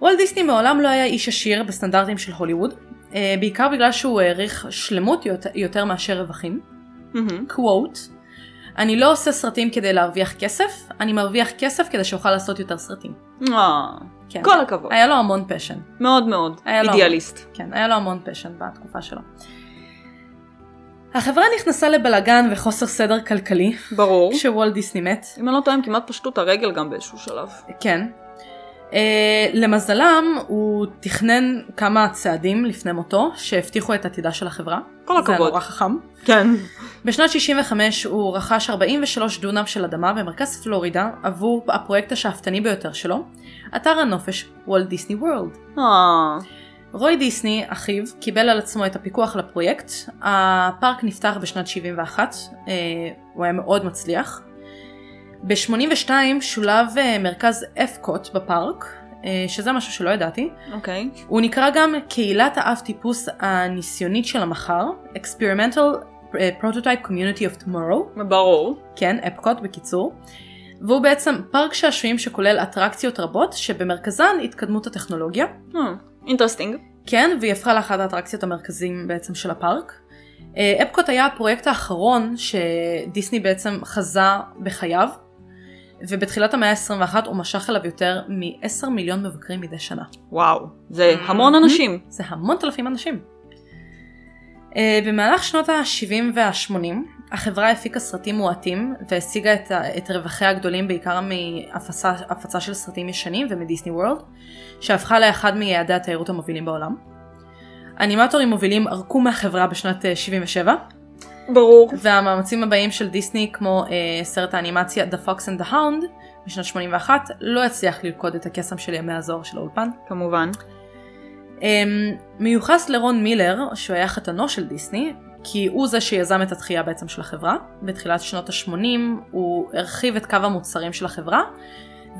A: וולט דיסני מעולם לא היה איש עשיר בסטנדרטים של הוליווד, אה, בעיקר בגלל שהוא העריך שלמות יותר- יותר מאשר רווחים.
B: מהמם.
A: קוואט, אני לא עושה סרטים כדי להרוויח כסף, אני מרוויח כסף כדי שאוכל לעשות יותר סרטים.
B: אה,
A: כן.
B: כל הכבוד.
A: היה לו המון פשן.
B: מאוד מאוד.
A: היה לו-
B: אידיאליסט.
A: כן, היה לו המון פשן בתקופה שלו. החברה נכנסה לבלגן וחוסר סדר כלכלי,
B: ברור.
A: כשוולט דיסני מת.
B: אם אני לא טועה, הם כמעט פשטו את הרגל גם באיזשהו שלב.
A: כן. אה, למזלם, הוא תכנן כמה צעדים לפני מותו, שהבטיחו את עתידה של החברה.
B: כל
A: זה היה
B: הכבוד.
A: נורא חכם.
B: כן.
A: בשנת 65 הוא רכש 43 דונם של אדמה במרכז פלורידה עבור הפרויקט השאפתני ביותר שלו, אתר הנופש וולט דיסני וורלד.
B: אה,
A: רוי דיסני, אחיו, קיבל על עצמו את הפיקוח לפרויקט. הפארק נפתח בשנת 71, אה, הוא היה מאוד מצליח. ב-82 שולב אה, מרכז אפקוט בפארק, אה, שזה משהו שלא ידעתי.
B: אוקיי.
A: הוא נקרא גם קהילת האב טיפוס הניסיונית של המחר, Experimental אה, Prototype Community of Tomorrow,
B: ברור.
A: כן, אפקוט בקיצור. והוא בעצם פארק שעשועים שכולל אטרקציות רבות שבמרכזן התקדמות הטכנולוגיה.
B: אה, אינטרסטינג.
A: כן, והיא הפכה לאחת האטרקציות המרכזיים בעצם של הפארק. אה, אפקוט היה הפרויקט האחרון שדיסני בעצם חזה בחייו, ובתחילת המאה ה-21 הוא משך אליו יותר מ-10 מיליון מבקרים מדי שנה.
B: וואו. זה
A: Mhm.
B: המון אנשים.
A: זה המון תלפים אנשים. אה, במהלך שנות ה-70 וה-80 החברה הפיקה סרטים מועטים והשיגה את, ה- את רווחיה הגדולים בעיקר מהפצה הפצה של סרטים ישנים ומדיסני וורלד, שהפכה לאחד מיעדי התיירות המובילים בעולם. אנימטורים מובילים ערקו מהחברה בשנת אה, 77,
B: ברור.
A: והמאמצים הבאים של דיסני כמו אה, סרט האנימציה The Fox and the Hound בשנת 81 לא הצליח ללכוד את הקסם של ימי הזוהר של האולפן.
B: כמובן.
A: אמ, מיוחס לרון מילר, שהוא היה חתנו של דיסני, כי הוא זה שיזם את התחייה בעצם של החברה. בתחילת שנות ה-80 הוא הרחיב את קו המוצרים של החברה,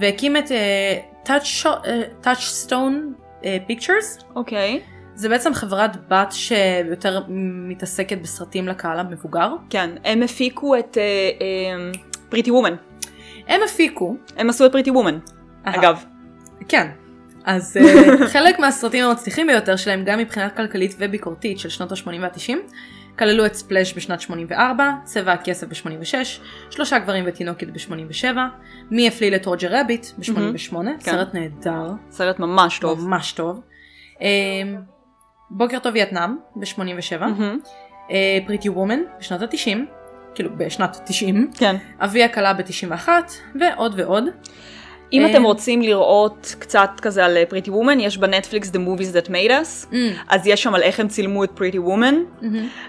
A: והקים את אה, Touch- אה, Touchstone אה, Pictures.
B: אוקיי.
A: זה בעצם חברת בת שיותר מתעסקת בסרטים לקהל המבוגר.
B: כן. הם הפיקו את אה, פריטי וומן.
A: הם הפיקו,
B: הם עשו את פריטי וומן.
A: אה.
B: אגב.
A: כן. אז אה, חלק מהסרטים המצליחים ביותר שלהם, גם מבחינה כלכלית וביקורתית של שנות ה-80 וה-90, כללו את ספלאש בשנת 84, צבע הכסף ב-86, שלושה גברים ותינוקת ב-87, מי הפליל את רוג'ר רביט ב-88, סרט נהדר,
B: סרט ממש כן. טוב.
A: ממש טוב. אה, בוקר טוב וייטנאם ב-87,
B: מהמם.
A: פריטי וומן בשנות ה-90, כאילו בשנת 90,
B: כן.
A: אבי הכלה ב-91, ועוד ועוד.
B: אם
A: אה,
B: אתם רוצים לראות קצת כזה על אה, פריטי וומן, יש בנטפליקס The Movies That Made Us, אז יש שם על איך הם צילמו את פריטי וומן,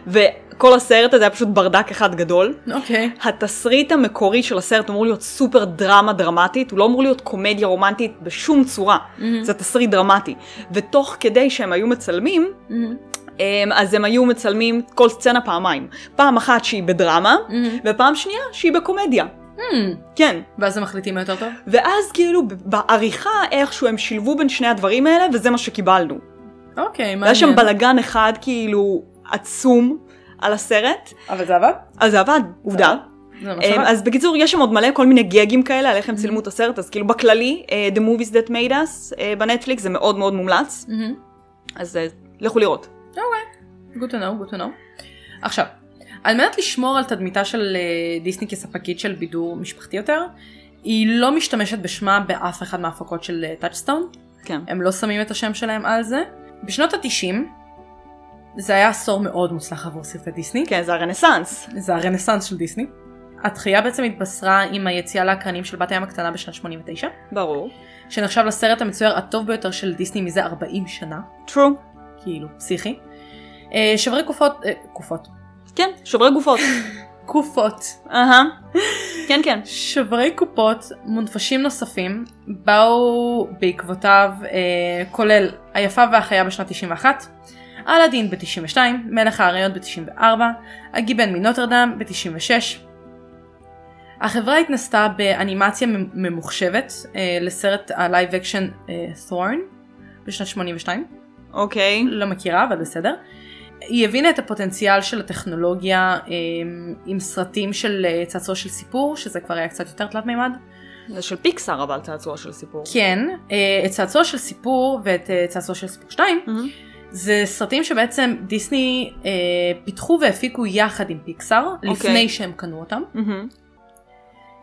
B: וכל הסרט הזה היה פשוט ברדק אחד גדול.
A: אוקיי.
B: התסריט המקורי של הסרט אמור להיות סופר דרמה דרמטית, הוא לא אמור להיות קומדיה רומנטית בשום צורה, זה תסריט דרמטי. ותוך כדי שהם היו מצלמים, אמ, אז הם היו מצלמים כל סצנה פעמיים. פעם אחת שהיא בדרמה, ופעם שנייה שהיא בקומדיה. כן.
A: ואז הם מחליטים מה יותר טוב?
B: ואז כאילו ב- בעריכה איכשהו הם שילבו בין שני הדברים האלה, וזה מה שקיבלנו.
A: אוקיי, מעניין.
B: לא היה שם בלגן אחד כאילו עצום על הסרט,
A: אבל זה עבד?
B: אז זה עבד, עובדה.
A: זה ממש
B: אמ,
A: עבד?
B: אז בקיצור, יש שם עוד מלא כל מיני גגים כאלה על איך הם צילמו את הסרט, אז כאילו בכללי, אה, The Movies That Made Us אה, בנטפליקס זה מאוד מאוד מומלץ,
A: מהמם.
B: אז אה, לכו לראות.
A: Good to know, good to know. עכשיו, על מנת לשמור על תדמיתה של אה, דיסני כספקית של בידור משפחתי יותר, היא לא משתמשת בשמה באף אחד מההפקות של טאצ'סטון,
B: כן.
A: הם לא שמים את השם שלהם על זה. בשנות ה-90, זה היה עשור מאוד מוצלח עבור סרטי דיסני,
B: כן, זה הרנסאנס.
A: זה הרנסאנס של דיסני. התחייה בעצם התבשרה עם היציאה לאקרנים של בת הים הקטנה בשנת 89,
B: ברור.
A: שנחשב לסרט המצויר הטוב ביותר של דיסני מזה 40 שנה.
B: True.
A: כאילו, פסיכי. אה, שברי קופות, אה, קופות,
B: כן, שוברי גופות.
A: קופות,
B: אהה. כן, כן.
A: שברי קופות מונפשים נוספים באו בעקבותיו, אה, כולל היפה והחיה בשנת 91, אלאדין ב-92, מלך האריות ב-94, הגיבן מנוטרדם ב-96. החברה התנסתה באנימציה ממ- ממוחשבת אה, לסרט הלייב אקשן Thorn בשנת 82.
B: אוקיי.
A: לא מכירה, אבל בסדר. היא הבינה את הפוטנציאל של הטכנולוגיה אמ, עם סרטים של אה, צעצוע של סיפור, שזה כבר היה קצת יותר תלת מימד.
B: זה של פיקסאר אבל צעצוע של סיפור.
A: כן, אה, את צעצוע של סיפור ואת אה, צעצוע של סיפור 2,
B: מהמם.
A: זה סרטים שבעצם דיסני אה, פיתחו והפיקו יחד עם פיקסאר, לפני שהם קנו אותם.
B: מהמם.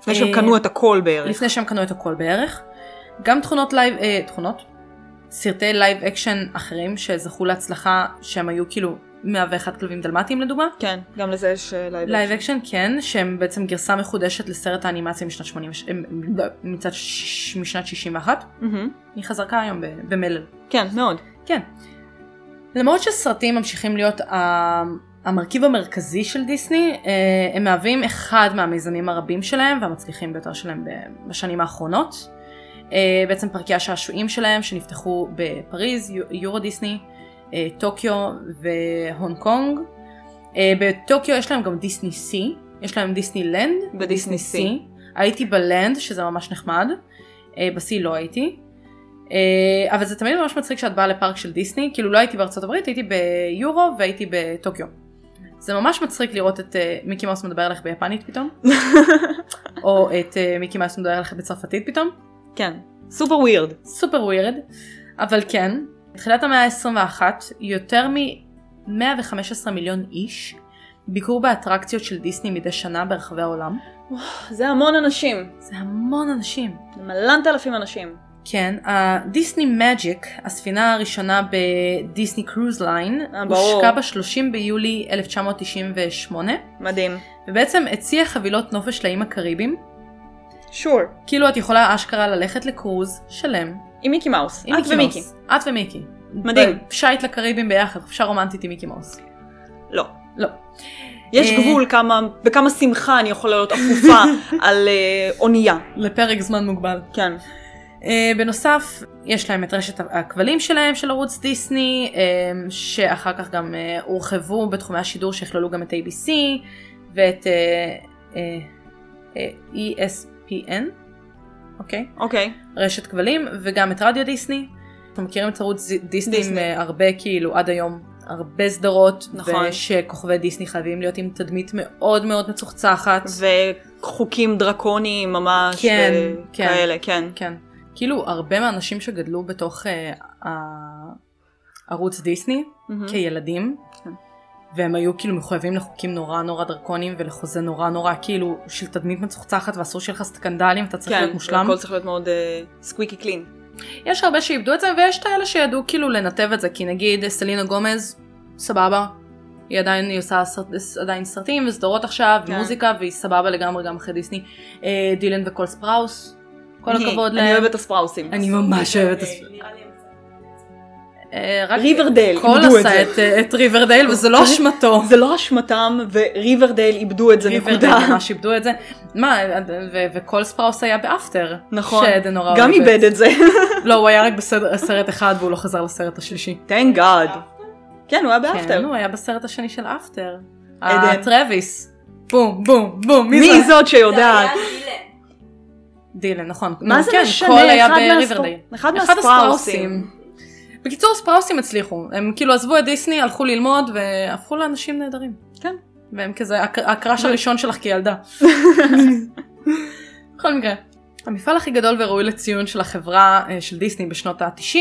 B: לפני שהם
A: אה,
B: קנו את הכל בערך.
A: לפני שהם קנו את הכל בערך. גם תכונות לייב, אה, תכונות? סרטי לייב אקשן אחרים שזכו להצלחה, שהם היו כאילו 101 כלבים דלמטיים לדוגמה.
B: כן, גם לזה יש אה, לייב
A: לייב
B: אקשן.
A: אקשן כן, שהם בעצם גרסה מחודשת לסרט האנימציה משנת 80, ש- הם- לא, מצד ש- משנת 61.
B: מהמם.
A: היא חזרקה היום ב- במלל.
B: כן, מאוד.
A: כן. למרות שסרטים ממשיכים להיות אה, ה- המרכיב המרכזי של דיסני, אה, הם מהווים אחד מהמיזמים הרבים שלהם והמצליחים ביותר שלהם ב- בשנים האחרונות. אה, בעצם פרקי השעשועים שלהם שנפתחו בפריז, יו- יורו דיסני, אה, טוקיו והונג קונג. אה, בטוקיו יש להם גם דיסני סי, יש להם דיסני לנד
B: בדיסני סי.
A: סי. הייתי בלנד, שזה ממש נחמד. אה, בסי לא הייתי. אה, אבל זה תמיד ממש מצחיק שאת באה לפארק של דיסני, כאילו לא הייתי בארצות הברית, הייתי ביורו והייתי בטוקיו. זה ממש מצחיק לראות את אה, מיקי מאוס מדבר אליך ביפנית פתאום, או את אה, מיקי מאוס מדבר אליך בצרפתית פתאום.
B: כן. סופר ווירד.
A: סופר ווירד, אבל כן, תחילת המאה ה-21, יותר מ-115 מיליון איש ביקרו באטרקציות של דיסני מדי שנה ברחבי העולם.
B: זה המון אנשים.
A: זה המון אנשים.
B: זה מלנת אלפים אנשים.
A: כן, הדיסני מג'יק, הספינה הראשונה בדיסני קרוז ליין,
B: אה, ברור.
A: הושקה ב-30 ביולי 1998,
B: מדהים.
A: ובעצם הציע חבילות נופש לאיים הקריביים,
B: שור.
A: כאילו את יכולה אשכרה ללכת לקרוז שלם.
B: עם מיקי מאוס.
A: עם
B: את
A: מיקי
B: ומיקי.
A: מאוס. את ומיקי.
B: מדהים.
A: שייט לקריביים ביחד, חופשה רומנטית עם מיקי מאוס.
B: לא.
A: לא.
B: יש
A: אה,
B: גבול כמה, בכמה שמחה אני יכולה להיות אפופה על אה, אונייה.
A: לפרק זמן מוגבל.
B: כן.
A: אה, בנוסף, יש להם את רשת הכבלים שלהם של ערוץ דיסני, אה, שאחר כך גם אה, הורחבו בתחומי השידור שיכללו גם את ABC ואת אה, אה, אה, ESPN, אוקיי?
B: אוקיי.
A: רשת כבלים, וגם את רדיו דיסני. אנחנו מכירים את ערוץ זי- דיסני,
B: דיסני.
A: דיסני. הרבה כאילו עד היום, הרבה סדרות,
B: נכון.
A: ושכוכבי דיסני חייבים להיות עם תדמית מאוד מאוד מצוחצחת.
B: וחוקים דרקוניים ממש.
A: כן, כן.
B: וכאלה, כן.
A: כן. כאילו הרבה מהאנשים שגדלו בתוך אה, ה- ערוץ דיסני
B: מהמם.
A: כילדים,
B: Mm-hmm. כן.
A: והם היו כאילו מחויבים לחוקים נורא נורא דרקוניים ולחוזה נורא נורא כאילו של תדמית מצוחצחת ואסור שיהיה לך סקנדלים, אתה צריך להיות מושלם.
B: כן, הכל צריך להיות מאוד אה, סקוויקי קלין.
A: יש הרבה שאיבדו את זה ויש את האלה שידעו כאילו לנתב את זה, כי נגיד סלינה גומז, סבבה. היא עדיין, היא עושה סרט, עדיין סרטים וסדרות עכשיו,
B: כן.
A: ומוזיקה, והיא סבבה לגמרי גם אחרי דיסני. אה, דילן וקול ספראוס, כל הכבוד
B: אני
A: להם.
B: אוהבת את הספראוסים.
A: אני ממש אוהבת את הספ- אה, רק
B: ריברדייל,
A: קול
B: איבדו את
A: עשה
B: זה.
A: את, אה, את ריברדייל וזה לא אשמתו.
B: זה לא אשמתם, וריברדייל איבדו את זה נקודה.
A: ריברדייל ממש איבדו את זה. מה, אה, ו- וקול ספראוס היה באפטר.
B: נכון.
A: שעדן נורא
B: גם
A: אוהבת.
B: איבד את זה.
A: לא, הוא היה רק בסרט אחד והוא לא חזר לסרט השלישי.
B: Thank God. כן, הוא היה באפטר.
A: כן, הוא היה בסרט השני של אפטר.
B: עדן.
A: טרוויס. בום, בום, בום, מי
B: מי
A: זה?
B: זאת שיודעת?
A: דילן, נכון.
B: מה
A: נו,
B: זה
A: כן, קול
B: משנה?
A: היה
B: אחד
A: בריברדייל.
B: מהספר- אחד
A: אחד
B: מהספראוסים.
A: הספראוסים. בקיצור, ספראוסים הצליחו. הם כאילו עזבו את דיסני, הלכו ללמוד והפכו לאנשים נהדרים.
B: כן.
A: והם כזה הק- הקראש הראשון שלך כילדה. בכל מקרה. המפעל הכי גדול וראוי לציון של החברה אה, של דיסני בשנות ה-90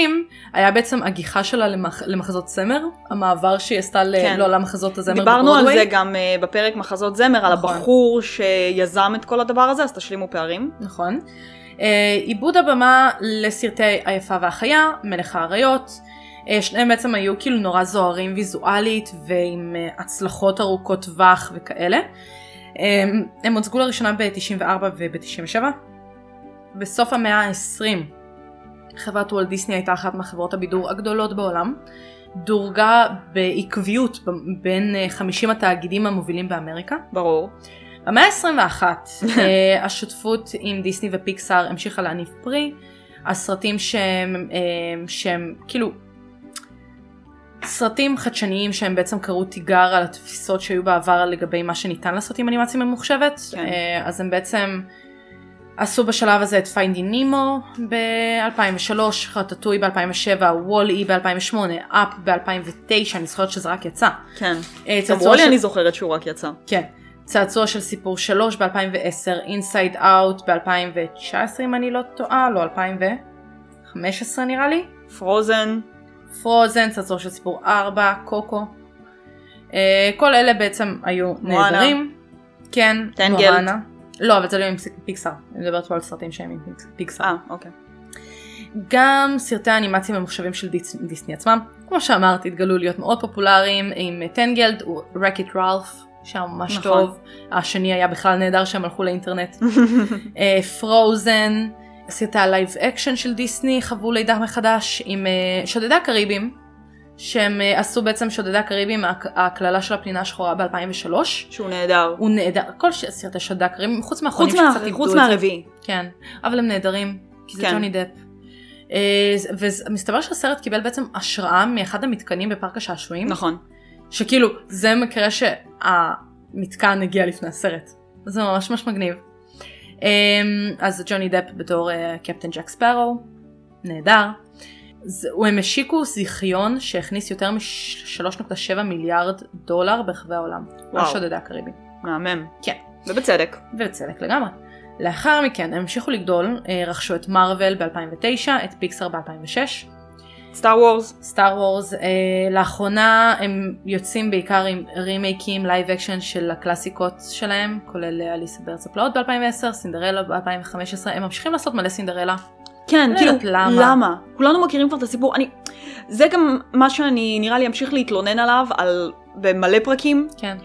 A: היה בעצם הגיחה שלה למח... למחזות זמר, המעבר שהיא עשתה ל...
B: כן.
A: לא למחזות הזמר
B: דיברנו על
A: בברודוויי.
B: זה גם אה, בפרק מחזות זמר, על
A: נכון.
B: הבחור שיזם את כל הדבר הזה, אז תשלימו פערים.
A: נכון. אה, עיבוד הבמה לסרטי היפה והחיה, מלך האריות, אה, שניהם בעצם היו כאילו נורא זוהרים ויזואלית ועם אה, הצלחות ארוכות טווח וכאלה. אה, הם הוצגו לראשונה ב-94 וב-97. בסוף המאה ה-20 חברת וולט דיסני הייתה אחת מחברות הבידור הגדולות בעולם. דורגה בעקביות ב- בין אה, 50 התאגידים המובילים באמריקה.
B: ברור.
A: במאה ה-21 אה, השותפות עם דיסני ופיקסאר המשיכה להניב פרי. הסרטים שהם, אה, שהם כאילו סרטים חדשניים שהם בעצם קראו תיגר על התפיסות שהיו בעבר לגבי מה שניתן לעשות עם אנימציה ממוחשבת.
B: כן.
A: אה, אז הם בעצם עשו בשלב הזה את פיינדין נימו ב-2003, חטטוי ב-2007, וול אי ב-2008, אפ ב-2009, אני זוכרת שזה רק יצא.
B: כן.
A: אה,
B: אמרו
A: צעצוע
B: לי
A: של-
B: אני זוכרת שהוא רק יצא.
A: כן. צעצוע של סיפור 3 ב-2010, אינסייד אאוט ב-2019 אם אני לא טועה, לא 2015 נראה לי,
B: פרוזן.
A: פרוזן, צעצוע של סיפור 4, קוקו. אה, כל אלה בעצם היו
B: מואנה.
A: נהדרים. כן,
B: טנגלד.
A: מואנה. לא, אבל זה לא עם פיקסאר, אני מדברת פה על סרטים שהם עם פיקסאר.
B: אה, אוקיי.
A: גם סרטי האנימציה ממוחשבים של דיס, דיסני עצמם, כמו שאמרת, התגלו להיות מאוד פופולריים עם טנגלד, רקט רלף, שהיה ממש
B: נכון.
A: נכון. טוב, השני היה בכלל נהדר שהם הלכו לאינטרנט, אה, פרוזן, סרטי הלייב אקשן של דיסני חוו לידה מחדש עם אה, שודדי הקריבים, שהם אה, עשו בעצם שודדי הקריבים, הק- הקללה של הפנינה השחורה ב-2003.
B: שהוא נהדר.
A: הוא נהדר, כל ש- סרטי שודדי הקריבים, חוץ מהאחרונים
B: חוץ,
A: שקצת
B: מה,
A: איבדו
B: חוץ
A: את זה.
B: מהרביעי.
A: כן, אבל הם נהדרים, כי זה
B: כן.
A: ג'וני דפ. אה, ומסתבר שהסרט קיבל בעצם השראה מאחד המתקנים בפארק השעשועים.
B: נכון.
A: שכאילו זה מקרה שהמתקן הגיע לפני הסרט. זה ממש ממש מגניב. אמ, אז ג'וני דפ בתור אה, קפטן ג'ק ספארו, נהדר. זה- הם השיקו זיכיון שהכניס יותר מ-3.7 מיליארד דולר ברחבי העולם.
B: וואו.
A: על שודדי הקריבי.
B: מהמם.
A: כן.
B: ובצדק.
A: ובצדק לגמרי. לאחר מכן הם המשיכו לגדול, אה, רכשו את מארוול ב-2009, את פיקסר ב-2006,
B: סטאר וורס.
A: סטאר וורס, אה, לאחרונה הם יוצאים בעיקר עם רימייקים לייב אקשן של הקלאסיקות שלהם, כולל אה, אליסה בארץ הפלאות ב-2010, סינדרלה ב-2015, הם ממשיכים לעשות מלא סינדרלה.
B: כן,
A: לא
B: כאילו,
A: יודעת למה.
B: למה? כולנו מכירים כבר את הסיפור. אני... זה גם מה שאני נראה לי אמשיך להתלונן עליו, על... במלא פרקים.
A: כן,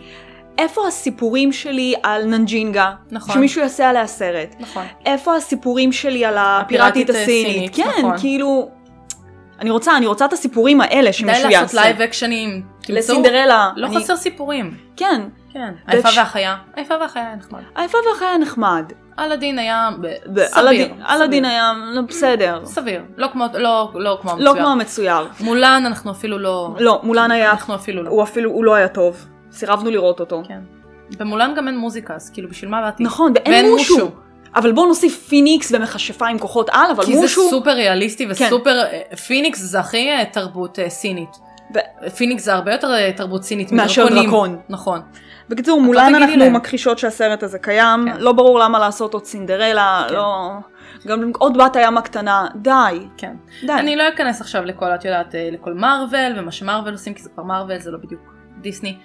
B: איפה הסיפורים שלי על ננג'ינגה?
A: נכון.
B: שמישהו יעשה עליה סרט.
A: נכון.
B: איפה הסיפורים שלי על
A: הפיראטית
B: הפיראטית
A: הסינית,
B: הסינית? כן,
A: נכון.
B: כאילו... אני רוצה, אני רוצה את הסיפורים האלה
A: די
B: שמישהו
A: לעשות
B: יעשה.
A: לייב אקשנים. תמצאו-
B: לסינדרלה.
A: לא
B: אני-
A: חסר סיפורים.
B: כן.
A: כן. היפה
B: וכש-
A: והחיה. היפה והחיה היה נחמד.
B: היפה והחיה היה נחמד.
A: אלאדין היה ב-
B: ב-
A: סביר.
B: אלאדין- אלאדין
A: סביר.
B: היה לא, בסדר.
A: סביר. לא כמו לא- לא כמו
B: לא כמו
A: המצויר.
B: המצויר.
A: מולן אנחנו אפילו לא...
B: לא, מולן היה,
A: אנחנו אפילו לא.
B: הוא אפילו, הוא לא היה טוב. סירבנו לראות אותו.
A: כן. במולן גם אין מוזיקה, אז כאילו בשביל מה באתי?
B: נכון, ואין מושו. אבל בואו נוסיף פיניקס ומכשפה עם כוחות על, אבל
A: כי זה
B: מושו... כן.
A: סופר ריאליסטי וסופר, אה, פיניקס זה הכי אה, תרבות אה, סינית.
B: ו-
A: פיניקס זה הרבה יותר אה, תרבות סינית
B: מאשר
A: מדרקונים.
B: דרקון.
A: נכון.
B: בקיצור,
A: לא
B: מולן
A: תגידי
B: אנחנו
A: להם.
B: מכחישות שהסרט הזה קיים,
A: כן.
B: לא ברור למה לעשות עוד סינדרלה,
A: כן.
B: לא... גם עוד בת הים הקטנה, די,
A: כן.
B: די.
A: אני לא אכנס עכשיו לכל, את יודעת, אה, לכל מארוול ומה שמארוול עושים, כי זה כבר מארוול, זה לא בדיוק דיסני.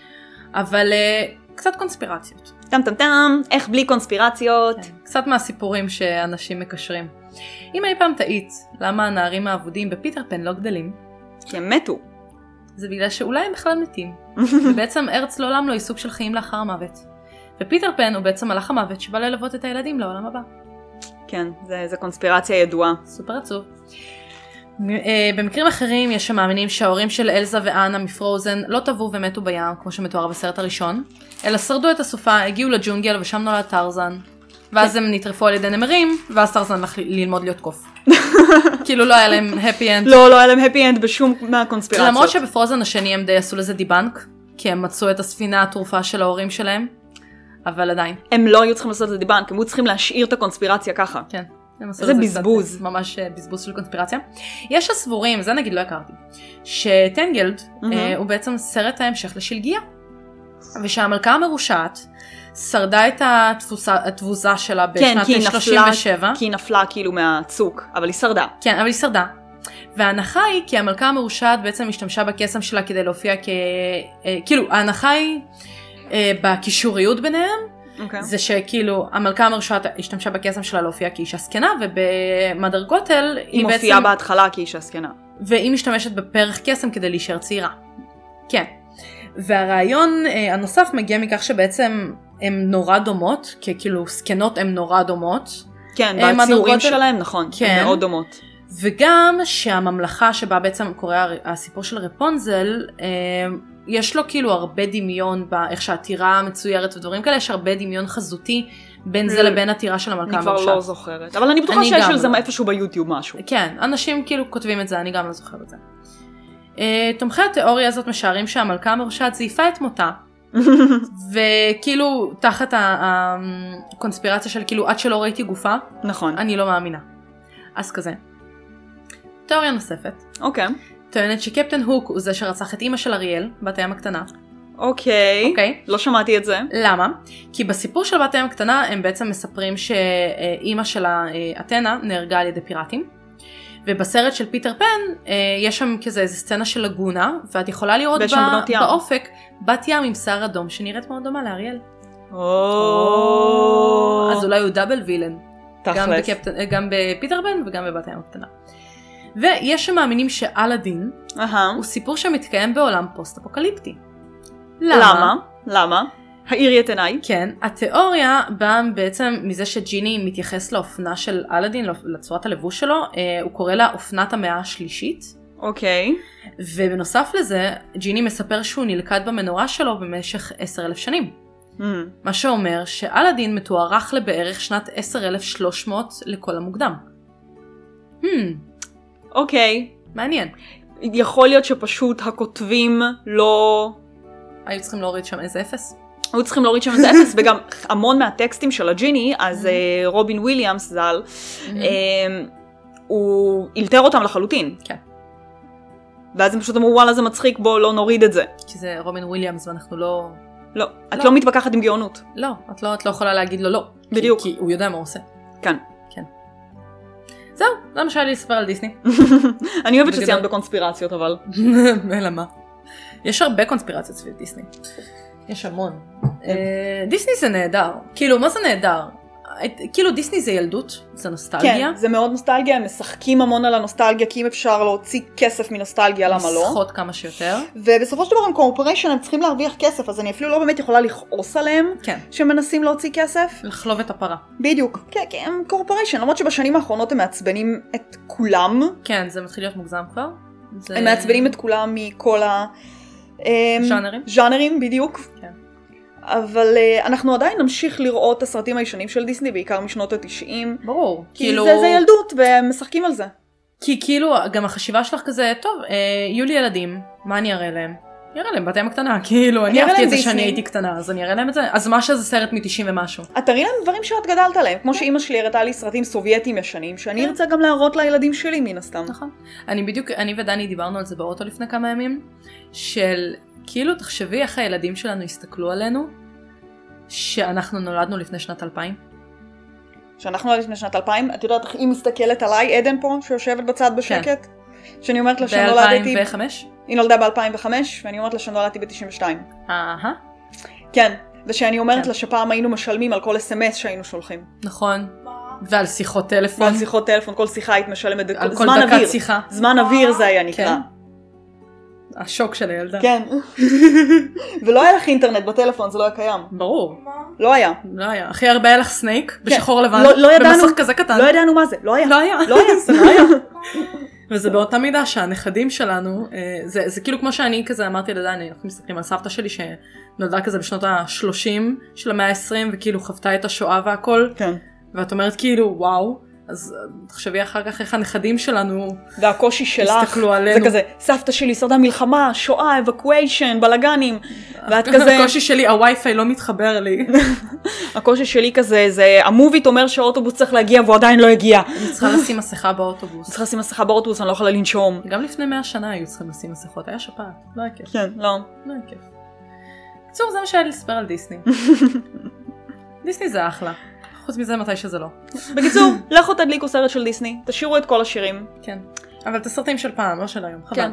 A: אבל אה, קצת קונספירציות.
B: טם טם טם, איך בלי קונספירציות.
A: כן. קצת מהסיפורים שאנשים מקשרים. אם אי פעם תהית למה הנערים האבודים בפיטר פן לא גדלים,
B: כי הם מתו.
A: זה בגלל שאולי הם בכלל מתים. ובעצם ארץ לעולם לא היא סוג של חיים לאחר המוות. ופיטר פן הוא בעצם מלאך המוות שבא ללוות את הילדים לעולם הבא.
B: כן, זה, זה קונספירציה ידועה.
A: סופר עצוב. מ- אה, במקרים אחרים יש שמאמינים שההורים של אלזה ואנה מפרוזן לא טבעו ומתו בים כמו שמתואר בסרט הראשון, אלא שרדו את הסופה, הגיעו לג'ונגל ושם נולד טרזן. ואז הם נטרפו על ידי נמרים, ואז טרזן הלך ל- ללמוד להיות קוף. כאילו לא היה להם happy end.
B: לא, לא היה להם happy end בשום מהקונספירציות.
A: למרות שבפרוזן השני הם די עשו לזה דיבנק, כי הם מצאו את הספינה התרופה של ההורים שלהם, אבל עדיין.
B: הם לא היו צריכים לעשות את זה דיבנק, הם היו צריכים להשאיר את הקונספירציה ככה.
A: כן. הם עשו
B: איזה
A: לזה
B: בזבוז.
A: קצת, ממש אה, בזבוז של קונספירציה. יש הסבורים, זה נגיד לא הכרתי, שטנגלד
B: מהמם.
A: אה, הוא בעצם סרט ההמשך לשלגיה. ושהמלכה המרושעת שרדה את התבוסה, התבוזה שלה
B: כן,
A: בשנת
B: כי היא נפלה,
A: 37.
B: כי היא נפלה כאילו מהצוק, אבל היא שרדה.
A: כן, אבל היא שרדה. וההנחה היא כי המלכה המרושעת בעצם השתמשה בקסם שלה כדי להופיע כ... אה, כאילו, ההנחה היא אה, בקישוריות ביניהם.
B: כן.
A: זה שכאילו המלכה המרושעת השתמשה בקסם שלה להופיע כאישה זקנה ובמדר גוטל היא,
B: היא מופיעה בהתחלה כאישה זקנה.
A: והיא משתמשת בפרח קסם כדי להישאר צעירה. כן. והרעיון אה, הנוסף מגיע מכך שבעצם הן נורא דומות, כי כאילו זקנות הן נורא דומות,
B: כן,
A: אה,
B: בציורים
A: מהדרגות של-
B: שלהם, נכון,
A: כן.
B: הן מאוד דומות.
A: וגם שהממלכה שבה בעצם קורה הר- הסיפור של רפונזל, אה, יש לו כאילו הרבה דמיון באיך שהעתירה מצוירת ודברים כאלה, יש הרבה דמיון חזותי בין זה
B: לא.
A: לבין עתירה של המלכה
B: אני כבר לא
A: המרושעת.
B: זוכרת. אבל אני בטוחה
A: אני
B: שיש
A: גם
B: על זה
A: לא.
B: איפשהו ביוטיוב משהו.
A: כן, אנשים כאילו כותבים את זה, אני גם לא זוכרת את זה. אה, תומכי התיאוריה הזאת משערים שהמלכה המרושעת זייפה את מותה, אוקיי. וכאילו תחת ה- ה- הקונספירציה של כאילו עד שלא ראיתי גופה,
B: נכון,
A: אני לא מאמינה. אז כזה. תיאוריה נוספת,
B: אוקיי.
A: טוענת שקפטן הוק הוא זה שרצח את אימא של אריאל, בת הים הקטנה,
B: אוקיי.
A: אוקיי?
B: לא שמעתי את זה.
A: למה? כי בסיפור של בת הים הקטנה הם בעצם מספרים שאימא שלה, אה, אתנה, נהרגה על ידי פיראטים. ובסרט של פיטר פן אה, יש שם כזה איזה סצנה של לגונה, ואת יכולה לראות
B: ויש שם
A: בה-
B: בנות ים.
A: באופק בת ים עם שיער אדום שנראית מאוד דומה לאריאל.
B: או...
A: אז אולי הוא דאבל וילן. גם,
B: תכלס.
A: בקפטן, אה, גם בפיטר פן וגם בבת הים הקטנה. ויש שמאמינים שאלאדין
B: אהה.
A: הוא סיפור שמתקיים בעולם פוסט-אפוקליפטי.
B: למה? למה? האירי את עיניי.
A: כן, התיאוריה באה בעצם מזה שג'יני לא- מתייחס לאופנה של אלאדין, לאופ- לצורת הלבוש שלו, אה, הוא קורא לה אופנת המאה השלישית,
B: אוקיי.
A: ובנוסף לזה, ג'יני מספר שהוא נלכד במנורה שלו במשך 10,000 שנים.
B: אה,
A: מה שאומר שאלאדין מתוארך לבערך שנת 10,300 לכל המוקדם. Hmm,
B: אוקיי.
A: מעניין.
B: יכול להיות שפשוט הכותבים לא...
A: היו צריכים להוריד שם איזה אפס?
B: היו צריכים להוריד שם איזה אפס, וגם המון מהטקסטים של הג'יני, אז
A: Mhm.
B: אה, רובין וויליאמס ז"ל, אה, הוא אילתר אותם לחלוטין.
A: כן.
B: ואז הם פשוט אמרו וואלה זה מצחיק בוא לא נוריד את זה.
A: כי זה רובין וויליאמס ואנחנו לא...
B: לא, את
A: לא.
B: לא מתווכחת עם גאונות.
A: לא, את לא, את לא יכולה להגיד לו לא. כי-
B: בדיוק.
A: כי הוא יודע מה הוא עושה.
B: כן.
A: זהו, זה מה שהיה לי לספר על דיסני.
B: אני אוהבת
A: בגדול.
B: שציינת בקונספירציות אבל.
A: אלא מה? יש הרבה קונספירציות סביב דיסני. יש המון.
B: כן.
A: אה, דיסני זה נהדר. כאילו, מה זה נהדר? את- כאילו דיסני זה ילדות, זה נוסטלגיה.
B: כן, זה מאוד נוסטלגיה, הם משחקים המון על הנוסטלגיה, כי אם אפשר להוציא כסף מנוסטלגיה, למה לא?
A: לסחוט כמה שיותר.
B: ובסופו של דבר הם קורפוריישן, הם צריכים להרוויח כסף, אז אני אפילו לא באמת יכולה לכעוס עליהם
A: כן.
B: שמנסים להוציא כסף.
A: לחלוב את הפרה.
B: בדיוק. כן, כן, הם קורפוריישן, למרות שבשנים האחרונות הם מעצבנים את כולם.
A: כן, זה מתחיל להיות מוגזם כבר. זה-
B: הם מעצבנים את כולם מכל ה... אמ,
A: ז'אנרים?
B: ז'אנרים, בדיוק.
A: כן.
B: אבל אה, אנחנו עדיין נמשיך לראות את הסרטים הישנים של דיסני, בעיקר משנות התשעים.
A: ברור. כאילו-
B: כי זה, זה ילדות, והם משחקים על זה.
A: כי כאילו גם החשיבה שלך כזה, טוב, אה, יהיו לי ילדים, מה אני אראה להם? אני אראה להם בת ים הקטנה, כאילו, אני
B: אני אראה
A: אהבתי
B: להם
A: את זה
B: דיסני.
A: שאני הייתי קטנה, אז אני אראה להם את זה, אז מה שזה סרט מ-90 ומשהו.
B: את תראי להם דברים שאת גדלת עליהם,
A: כן.
B: כמו שאימא שלי הראתה לי סרטים סובייטים ישנים, שאני ארצה גם להראות לילדים שלי מן הסתם.
A: נכון. אני בדיוק, אני ודני דיברנו על זה באוטו לפני כמה ימים, של כאילו תחשבי איך הילדים שלנו יסתכלו עלינו, שאנחנו נולדנו לפני שנת 2000.
B: שאנחנו לפני שנת 2000, את יודעת איך היא מסתכלת עליי, עדן פה, שיושבת בצד בשקט,
A: כן.
B: שאני אומרת לה שנולדתי,
A: ב-2005?
B: היא נולדה ב-2005, ואני אומרת לה שנולדתי ב-92.
A: אהה.
B: כן, ושאני אומרת
A: כן.
B: לה שפעם היינו משלמים על כל אס.אם.אס שהיינו שולחים.
A: נכון. ועל שיחות טלפון.
B: ועל שיחות טלפון, כל שיחה היית משלמת, דק-
A: על כל
B: זמן
A: דקת
B: אוויר.
A: שיחה.
B: זמן אוויר זה היה נקרא.
A: כן. השוק של הילדה.
B: כן. ולא היה לך אינטרנט בטלפון, זה לא היה קיים.
A: ברור.
B: לא היה.
A: לא היה. הכי הרבה היה לך סנייק בשחור לבן.
B: לא- לא ידענו-
A: במסך כזה קטן.
B: לא ידענו מה זה, לא היה.
A: אה. לא היה.
B: לא היה, זה לא היה.
A: וזה באותה מידה שהנכדים שלנו, אה, זה, זה כאילו כמו שאני כזה אמרתי לדני, אנחנו מסתכלים על סבתא שלי שנולדה כזה בשנות ה-30 של המאה ה-20 וכאילו חוותה את השואה והכל,
B: כן.
A: ואת אומרת כאילו וואו, אז אה, תחשבי אחר כך איך הנכדים שלנו
B: והקושי שלך,
A: הסתכלו
B: זה
A: עלינו.
B: כזה, סבתא שלי שרדה מלחמה, שואה, אבקוויישן, בלאגנים, ואת כזה,
A: הקושי שלי, הווי-פיי לא מתחבר לי,
B: הקושי שלי כזה, זה המוביט אומר שהאוטובוס צריך להגיע והוא עדיין לא הגיע. אני
A: אני צריכה לשים מסכה באוטובוס.
B: צריכה לשים מסכה באוטובוס, אני לא יכולה לנשום.
A: גם לפני 100 שנה היו צריכים לשים מסכות, היה שפעת, לא היה כיף.
B: כן, לא.
A: לא היה כיף. בקיצור, זה מה שהיה לי לספר על דיסני. דיסני זה אחלה, חוץ מזה מתי שזה לא.
B: בקיצור, לכו תדליקו סרט של דיסני, תשאירו את כל השירים.
A: כן. אבל את הסרטים של פעם, לא של היום, חבל.
B: כן.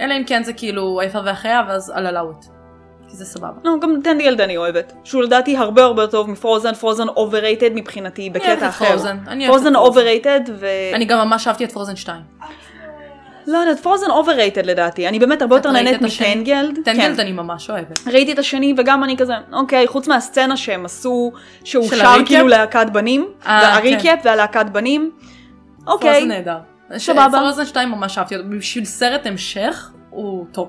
A: אלא אם כן זה כאילו היפה והחיה, ואז על הלאוט. כי זה סבבה.
B: לא, גם דנדי ילד אני אוהבת. שהוא לדעתי הרבה הרבה יותר טוב מפרוזן, פרוזן אוברייטד מבחינתי, בקטע אחר.
A: פרוזן. אני אוהבת
B: פרוזן כן.
A: את
B: אוברייטד ו...
A: אני גם ממש אהבתי את פרוזן 2.
B: לא יודעת, פרוזן אוברייטד לדעתי. אני באמת הרבה
A: את
B: יותר
A: ראית
B: נהנית
A: את השני?
B: מטנגלד. כן.
A: טנגלד אני ממש אוהבת.
B: ראיתי את השני וגם אני כזה, אוקיי, חוץ מהסצנה שהם עשו, שהוא
A: של
B: שר
A: הריקאפ?
B: כאילו להקת בנים,
A: אה,
B: הריקאפ והלהקת בנים,
A: פרוזן
B: אוקיי,
A: נהדר.
B: סבבה.
A: פרוזן 2 ממש אהבתי אותו. בשביל סרט המשך, הוא טוב.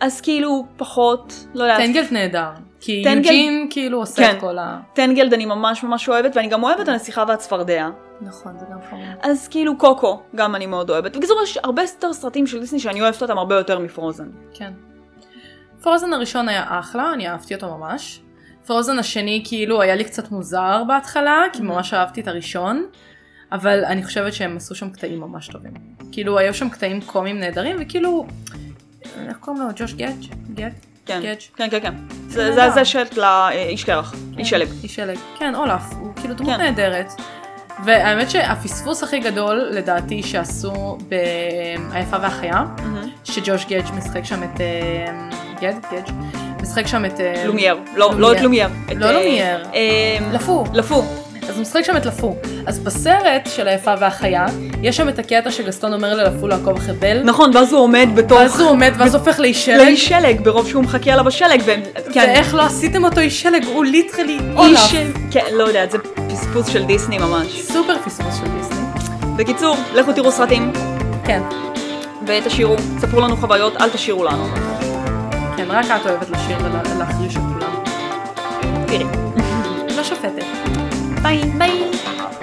B: אז כאילו פחות, לא יודעת,
A: טנגלד נהדר. כי
B: טנגלד-
A: יוג'ין כאילו עושה
B: כן.
A: את כל ה...
B: טנגלד אני ממש ממש אוהבת, ואני גם אוהבת הנסיכה והצפרדע,
A: נכון, זה גם פרוזן.
B: אז כאילו קוקו גם אני מאוד אוהבת. בקיצור, יש הרבה יותר סרטים של דיסני שאני אוהבת אותם הרבה יותר מפרוזן.
A: כן. פרוזן הראשון היה אחלה, אני אהבתי אותו ממש. פרוזן השני כאילו היה לי קצת מוזר בהתחלה, כי ממש אהבתי את הראשון, אבל אני חושבת שהם עשו שם קטעים ממש טובים. כאילו היו שם קטעים קומיים נהדרים, וכאילו, אה, איך קוראים לו? ג'וש גאץ'? גאץ'?
B: כן,
A: גאץ'.
B: כן, כן, כן.
A: נהדר.
B: זה זה הזה של ה- אה, איש קרח, איש שלג.
A: איש שלג. כן, אולף, הוא כאילו דמות
B: כן.
A: נהדרת. והאמת שהפספוס הכי גדול לדעתי שעשו ב"היפה והחיה",
B: מהמם.
A: שג'וש גאג' משחק שם את... אה, גד? גאג'? משחק שם את... אה,
B: לומייר, לא לא את לומייר. את,
A: לא
B: אה,
A: לומייר.
B: אה,
A: לפו.
B: לפו.
A: אז הוא משחק שם את לפו. אז בסרט של היפה והחיה, יש שם את הקטע שגסטון אומר ללפו לעקוב אחרי בל.
B: נכון, ואז הוא עומד בתוך...
A: ואז הוא עומד ואז הופך לאיש שלג.
B: לאיש שלג, ברוב שהוא מחכה עליו השלג, והם... כן,
A: ואיך לא עשיתם אותו איש שלג? הוא ליטרלי
B: איש...
A: אולף.
B: כן, לא יודעת, זה פספוס של דיסני ממש.
A: סופר פספוס של דיסני.
B: בקיצור, לכו תראו סרטים,
A: כן.
B: ותשאירו, ספרו לנו חוויות, אל תשאירו לנו.
A: כן, רק את אוהבת לשיר ולהחריש את כולם.
B: תראי.
A: לא שופטת.
B: ביי. ביי.